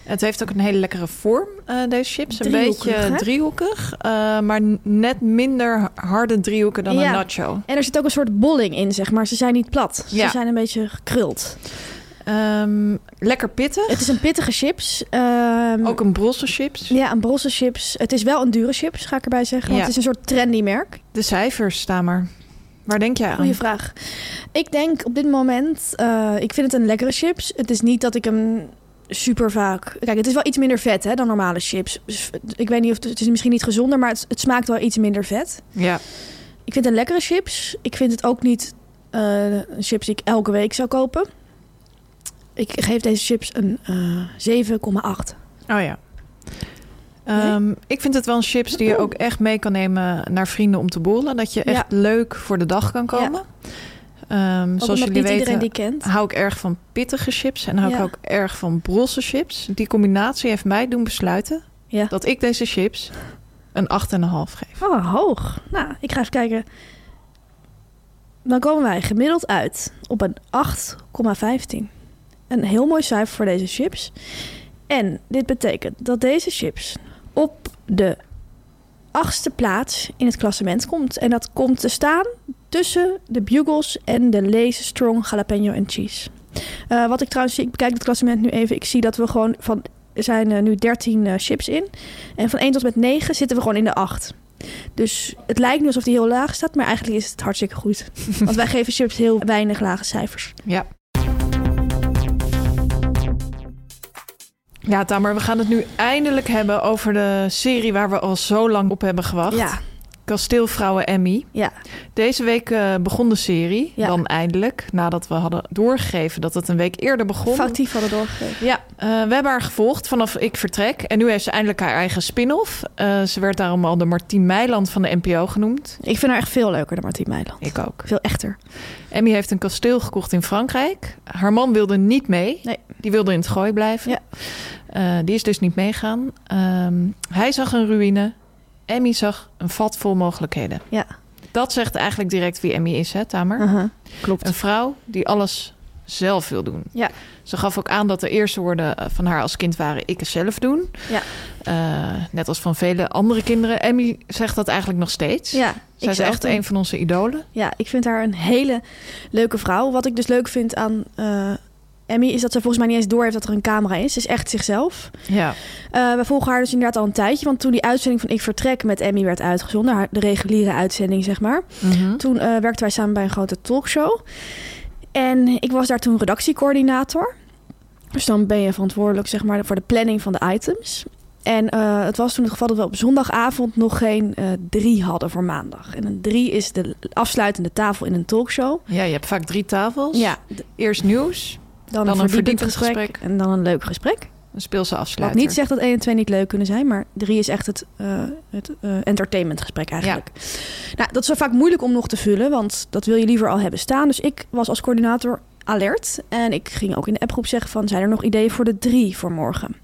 [SPEAKER 1] Het heeft ook een hele lekkere vorm, eh, deze chips. Een
[SPEAKER 2] Driehoekig,
[SPEAKER 1] beetje
[SPEAKER 2] hè?
[SPEAKER 1] driehoekig, eh, maar net minder harde driehoeken dan
[SPEAKER 2] Ja.
[SPEAKER 1] een nacho.
[SPEAKER 2] En er zit ook een soort bolling in, zeg maar. Ze zijn niet plat.
[SPEAKER 1] Ja.
[SPEAKER 2] Ze zijn een beetje gekruld.
[SPEAKER 1] Ehm, lekker pittig.
[SPEAKER 2] Het is een pittige chips. Ehm,
[SPEAKER 1] Ook een brosse chips.
[SPEAKER 2] Ja, een brosse chips. Het is wel een dure chips, ga ik erbij zeggen. Want
[SPEAKER 1] Ja.
[SPEAKER 2] het is een soort trendy merk.
[SPEAKER 1] De cijfers staan maar. Waar denk jij aan?
[SPEAKER 2] Goeie vraag. Ik denk op dit moment, eh, ik vind het een lekkere chips. Het is niet dat ik hem super vaak... Kijk, het is wel iets minder vet hè, dan normale chips. Dus Ik weet niet of het, het is misschien niet gezonder, maar het, het smaakt wel iets minder vet.
[SPEAKER 1] Ja.
[SPEAKER 2] Ik vind het lekkere chips. Ik vind het ook niet eh, een chips die ik elke week zou kopen. Ik geef deze chips een eh 7,8.
[SPEAKER 1] Oh ja. Ehm, Ik vind het wel een chips die je ook echt mee kan nemen naar vrienden om te borrelen. Dat je
[SPEAKER 2] Ja.
[SPEAKER 1] echt leuk voor de dag kan komen. Ehm,
[SPEAKER 2] Ook
[SPEAKER 1] zoals
[SPEAKER 2] omdat
[SPEAKER 1] jullie
[SPEAKER 2] niet
[SPEAKER 1] weten,
[SPEAKER 2] iedereen die kent.
[SPEAKER 1] hou ik erg van pittige chips en hou ik
[SPEAKER 2] Ja.
[SPEAKER 1] ook erg van brosse chips. Die combinatie heeft mij doen besluiten
[SPEAKER 2] Ja.
[SPEAKER 1] dat ik deze chips een 8,5 geef.
[SPEAKER 2] Oh, hoog. Nou, ik ga even kijken. Dan komen wij gemiddeld uit op een 8,15. Een heel mooi cijfer voor deze chips. En dit betekent dat deze chips op de achtste plaats in het klassement komt. En dat komt te staan tussen de Bugles en de Lays Strong Jalapeno and Cheese. Eh, wat ik trouwens zie, ik bekijk het klassement nu even. Ik zie dat we gewoon van, er zijn eh, nu 13 eh, chips in. En van 1 tot met 9 zitten we gewoon in de 8. Dus het lijkt nu alsof die heel laag staat, maar eigenlijk is het hartstikke (laughs) goed. Want wij geven chips heel weinig lage cijfers.
[SPEAKER 1] Ja. Ja, Tamer, we gaan het nu eindelijk hebben over de serie waar we al zo lang op hebben gewacht.
[SPEAKER 2] Ja,
[SPEAKER 1] Kasteelvrouwen Emmy.
[SPEAKER 2] ja,
[SPEAKER 1] Deze week eh, begon de serie,
[SPEAKER 2] Ja.
[SPEAKER 1] dan eindelijk, nadat we hadden doorgegeven dat het een week eerder begon.
[SPEAKER 2] factief hadden doorgegeven.
[SPEAKER 1] Ja, eh, we hebben haar gevolgd vanaf Ik Vertrek. En nu heeft ze eindelijk haar eigen spin-off. Eh, ze werd daarom al de Martien Meiland van de NPO genoemd.
[SPEAKER 2] Ik vind haar echt veel leuker dan Martien Meiland.
[SPEAKER 1] Ik ook.
[SPEAKER 2] Veel echter.
[SPEAKER 1] Emmy heeft een kasteel gekocht in Frankrijk. Haar man wilde niet mee.
[SPEAKER 2] Nee.
[SPEAKER 1] Die wilde in het gooi blijven.
[SPEAKER 2] Ja.
[SPEAKER 1] Eh, die is dus niet meegaan. Ehm, hij zag een ruïne. Emmy zag een vat vol mogelijkheden.
[SPEAKER 2] Ja.
[SPEAKER 1] Dat zegt eigenlijk direct wie Emmy is, hè, Tamer?
[SPEAKER 2] Aha, Klopt.
[SPEAKER 1] Een vrouw die alles zelf wil doen.
[SPEAKER 2] Ja.
[SPEAKER 1] Ze gaf ook aan dat de eerste woorden eh, van haar als kind waren... ik het zelf doen.
[SPEAKER 2] Ja.
[SPEAKER 1] Eh, net als van vele andere kinderen. Emmy zegt dat eigenlijk nog steeds.
[SPEAKER 2] Ja,
[SPEAKER 1] Zij is
[SPEAKER 2] zelf
[SPEAKER 1] echt
[SPEAKER 2] dan.
[SPEAKER 1] een van onze idolen.
[SPEAKER 2] Ja, ik vind haar een hele leuke vrouw. Wat ik dus leuk vind aan eh, Emmy is dat ze volgens mij niet eens door heeft dat er een camera is. Ze is echt zichzelf.
[SPEAKER 1] Ja.
[SPEAKER 2] Eh, we volgen haar dus inderdaad al een tijdje. Want toen die uitzending van Ik Vertrek met Emmy werd uitgezonden, haar, de reguliere uitzending zeg maar. Toen eh, werkten wij samen bij een grote talkshow. En ik was daar toen redactiecoördinator. Dus dan ben je verantwoordelijk zeg maar, voor de planning van de items. En eh, het was toen het geval dat we op zondagavond nog geen eh, drie hadden voor maandag. En een drie is de afsluitende tafel in een talkshow.
[SPEAKER 1] ja, je hebt vaak drie tafels.
[SPEAKER 2] Ja,
[SPEAKER 1] Eerst nieuws, een
[SPEAKER 2] dan, een verdiepend
[SPEAKER 1] verdiepend
[SPEAKER 2] gesprek,
[SPEAKER 1] gesprek.
[SPEAKER 2] en dan een leuk gesprek.
[SPEAKER 1] dan speel ze
[SPEAKER 2] Wat
[SPEAKER 1] afsluiter.
[SPEAKER 2] niet zegt dat 1 en 2 niet leuk kunnen zijn, maar 3 is echt het, eh, het eh, entertainmentgesprek eigenlijk. Nou, dat is wel vaak moeilijk om nog te vullen, want dat wil je liever al hebben staan. Dus ik was als coördinator alert en ik ging ook in de appgroep zeggen van zijn er nog ideeën voor de 3 voor morgen.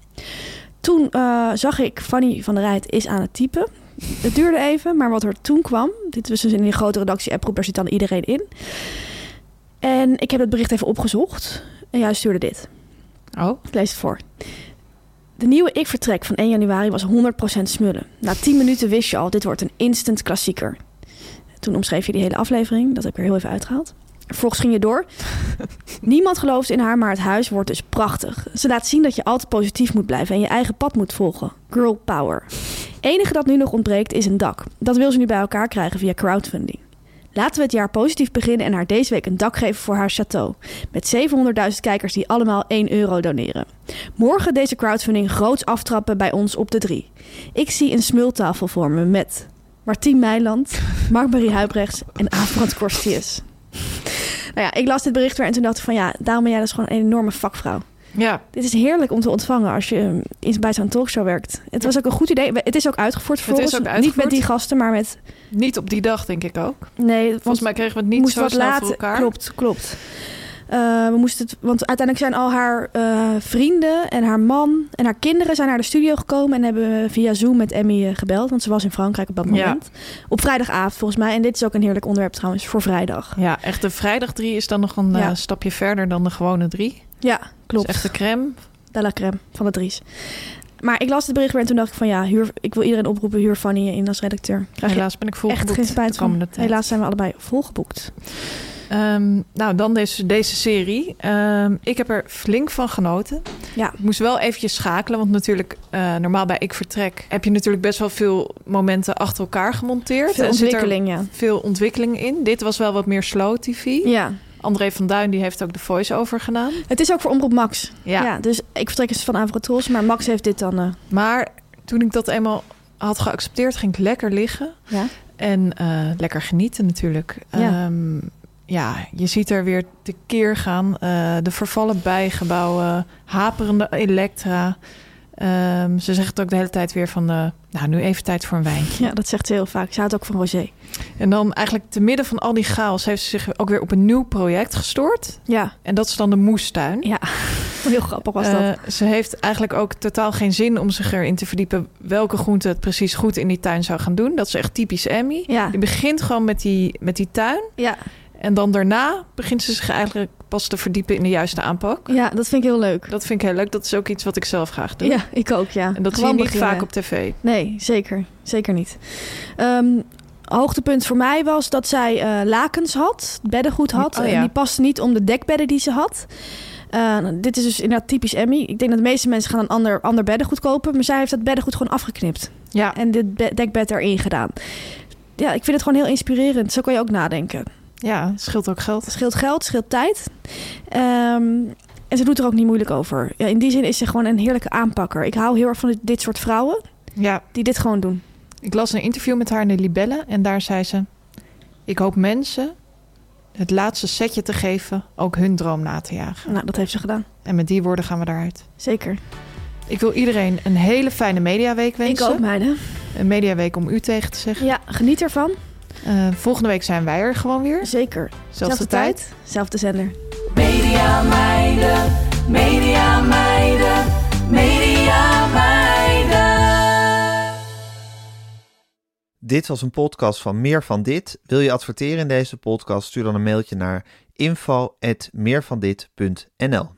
[SPEAKER 2] Toen eh, zag ik Fanny van der Rijt is aan het typen. Het duurde even, maar wat er toen kwam, dit was dus in die grote redactie appgroep, daar zit dan iedereen in. En ik heb het bericht even opgezocht en jij stuurde dit.
[SPEAKER 1] Oh,
[SPEAKER 2] Ik lees het voor. De nieuwe Ik Vertrek van 1 januari was 100% smullen. Na 10 minuten wist je al, dit wordt een instant klassieker. Toen omschreef je die hele aflevering. Dat heb ik er heel even uitgehaald. Vervolgens ging je door. Niemand gelooft in haar, maar het huis wordt dus prachtig. Ze laat zien dat je altijd positief moet blijven en je eigen pad moet volgen. Girl power. Enige dat nu nog ontbreekt is een dak. Dat wil ze nu bij elkaar krijgen via crowdfunding. Laten we het jaar positief beginnen en haar deze week een dak geven voor haar château. Met 700.000 kijkers die allemaal 1 euro doneren. Morgen deze crowdfunding groots aftrappen bij ons op de drie. Ik zie een smultafel vormen met Martien Meiland, Mark-Marie Huibrechts en Avrand Korstius. Nou ja, ik las dit bericht weer en toen dacht ik van ja, daarom ben jij dus gewoon een enorme vakvrouw.
[SPEAKER 1] ja.
[SPEAKER 2] Dit is heerlijk om te ontvangen als je ehm, in- bij zo'n talkshow werkt. Het was ook een goed idee. Het is ook uitgevoerd
[SPEAKER 1] is ook
[SPEAKER 2] vervolgens. Niet
[SPEAKER 1] uitgevoerd.
[SPEAKER 2] met die gasten, maar met...
[SPEAKER 1] Niet op die dag, denk ik ook.
[SPEAKER 2] Nee,
[SPEAKER 1] Volgens
[SPEAKER 2] want-
[SPEAKER 1] mij kregen we het niet
[SPEAKER 2] moest
[SPEAKER 1] zo
[SPEAKER 2] wat
[SPEAKER 1] snel
[SPEAKER 2] later.
[SPEAKER 1] voor elkaar.
[SPEAKER 2] Klopt, klopt. Eh, we moesten het, want uiteindelijk zijn al haar eh, vrienden en haar man en haar kinderen zijn naar de studio gekomen en hebben via Zoom met Emmy eh, gebeld, want ze was in Frankrijk op dat
[SPEAKER 1] Ja.
[SPEAKER 2] moment. Op vrijdagavond volgens mij. En dit is ook een heerlijk onderwerp trouwens voor vrijdag.
[SPEAKER 1] Ja, echt de vrijdag drie is dan nog een
[SPEAKER 2] Ja.
[SPEAKER 1] eh, stapje verder dan de gewone drie.
[SPEAKER 2] Ja, klopt.
[SPEAKER 1] Dus echt de crème.
[SPEAKER 2] De la crème van de Dries. Maar ik las het bericht weer en toen dacht ik van ja, huur, ik wil iedereen oproepen, huur Fanny in als redacteur. Krijg je
[SPEAKER 1] Helaas ben ik volgeboekt
[SPEAKER 2] echt geen spijt
[SPEAKER 1] de
[SPEAKER 2] van.
[SPEAKER 1] komende tijd.
[SPEAKER 2] Helaas zijn we allebei volgeboekt.
[SPEAKER 1] Ehm, nou, dan deze, deze serie. Ehm, ik heb er flink van genoten.
[SPEAKER 2] Ja.
[SPEAKER 1] Ik moest wel eventjes schakelen, want natuurlijk, eh, normaal bij Ik Vertrek... heb je natuurlijk best wel veel momenten achter elkaar gemonteerd.
[SPEAKER 2] Veel
[SPEAKER 1] En zit er
[SPEAKER 2] ontwikkeling, ja.
[SPEAKER 1] Veel ontwikkeling in. Dit was wel wat meer slow tv.
[SPEAKER 2] Ja.
[SPEAKER 1] André van Duin die heeft ook de voice-over gedaan.
[SPEAKER 2] Het is ook voor Omroep Max.
[SPEAKER 1] Ja.
[SPEAKER 2] Ja. dus ik vertrek eens van Avrotros, maar Max heeft dit dan. eh,
[SPEAKER 1] Maar toen ik dat eenmaal had geaccepteerd, ging ik lekker liggen.
[SPEAKER 2] ja.
[SPEAKER 1] En eh, lekker genieten natuurlijk.
[SPEAKER 2] Ja.
[SPEAKER 1] Ehm, ja, je ziet er weer te keer gaan. Eh, de vervallen bijgebouwen, haperende elektra. Ehm, ze zegt ook de hele tijd weer van... eh, nou, nu even tijd voor een wijntje.
[SPEAKER 2] ja, dat zegt ze heel vaak. Ze houdt ook van Rosé.
[SPEAKER 1] En dan eigenlijk te midden van al die chaos... heeft ze zich ook weer op een nieuw project gestoord.
[SPEAKER 2] Ja,
[SPEAKER 1] En dat is dan de moestuin.
[SPEAKER 2] ja. (laughs) heel grappig was dat.
[SPEAKER 1] Eh, ze heeft eigenlijk ook totaal geen zin om zich erin te verdiepen welke groente het precies goed in die tuin zou gaan doen. Dat is echt typisch Emmy.
[SPEAKER 2] Ja.
[SPEAKER 1] Die begint gewoon met die, met die tuin.
[SPEAKER 2] Ja.
[SPEAKER 1] En dan daarna begint ze zich eigenlijk pas te verdiepen in de juiste aanpak.
[SPEAKER 2] ja, dat vind ik heel leuk.
[SPEAKER 1] Dat vind ik heel leuk. Dat is ook iets wat ik zelf graag doe.
[SPEAKER 2] Ja, ik ook, ja.
[SPEAKER 1] En dat zie
[SPEAKER 2] Gewoon
[SPEAKER 1] je niet
[SPEAKER 2] beginnen.
[SPEAKER 1] vaak op tv.
[SPEAKER 2] Nee, zeker. Zeker niet. Ehm, hoogtepunt voor mij was dat zij eh, lakens had, beddengoed had.
[SPEAKER 1] Oh, ja.
[SPEAKER 2] En die paste niet om de dekbedden die ze had. Eh, dit is dus inderdaad typisch Emmy. Ik denk dat de meeste mensen gaan een ander, ander beddengoed kopen. Maar zij heeft dat beddengoed gewoon afgeknipt.
[SPEAKER 1] Ja,
[SPEAKER 2] En dit be- dekbed erin gedaan. Ja, ik vind het gewoon heel inspirerend. Zo kan je ook nadenken.
[SPEAKER 1] ja, scheelt ook geld.
[SPEAKER 2] Het scheelt geld, scheelt tijd. Ehm, en ze doet er ook niet moeilijk over. Ja, in die zin is ze gewoon een heerlijke aanpakker. Ik hou heel erg van dit, dit soort vrouwen
[SPEAKER 1] Ja,
[SPEAKER 2] die dit gewoon doen.
[SPEAKER 1] Ik las een interview met haar in de Libelle en daar zei ze: Ik hoop mensen het laatste setje te geven, ook hun droom na te jagen.
[SPEAKER 2] Nou, dat heeft ze gedaan.
[SPEAKER 1] En met die woorden gaan we daaruit.
[SPEAKER 2] Zeker.
[SPEAKER 1] Ik wil iedereen een hele fijne mediaweek wensen.
[SPEAKER 2] Ik ook, meiden.
[SPEAKER 1] Een mediaweek om u tegen te zeggen.
[SPEAKER 2] Ja, geniet ervan.
[SPEAKER 1] Eh, volgende week zijn wij er gewoon weer. Zelfde,
[SPEAKER 2] Zeker.
[SPEAKER 1] tijd.
[SPEAKER 2] zelfde zender.
[SPEAKER 3] Media meiden, media meiden, media meiden.
[SPEAKER 4] Dit was een podcast van Meer van Dit. Wil je adverteren in deze podcast? Stuur dan een mailtje naar info@meervandit.nl.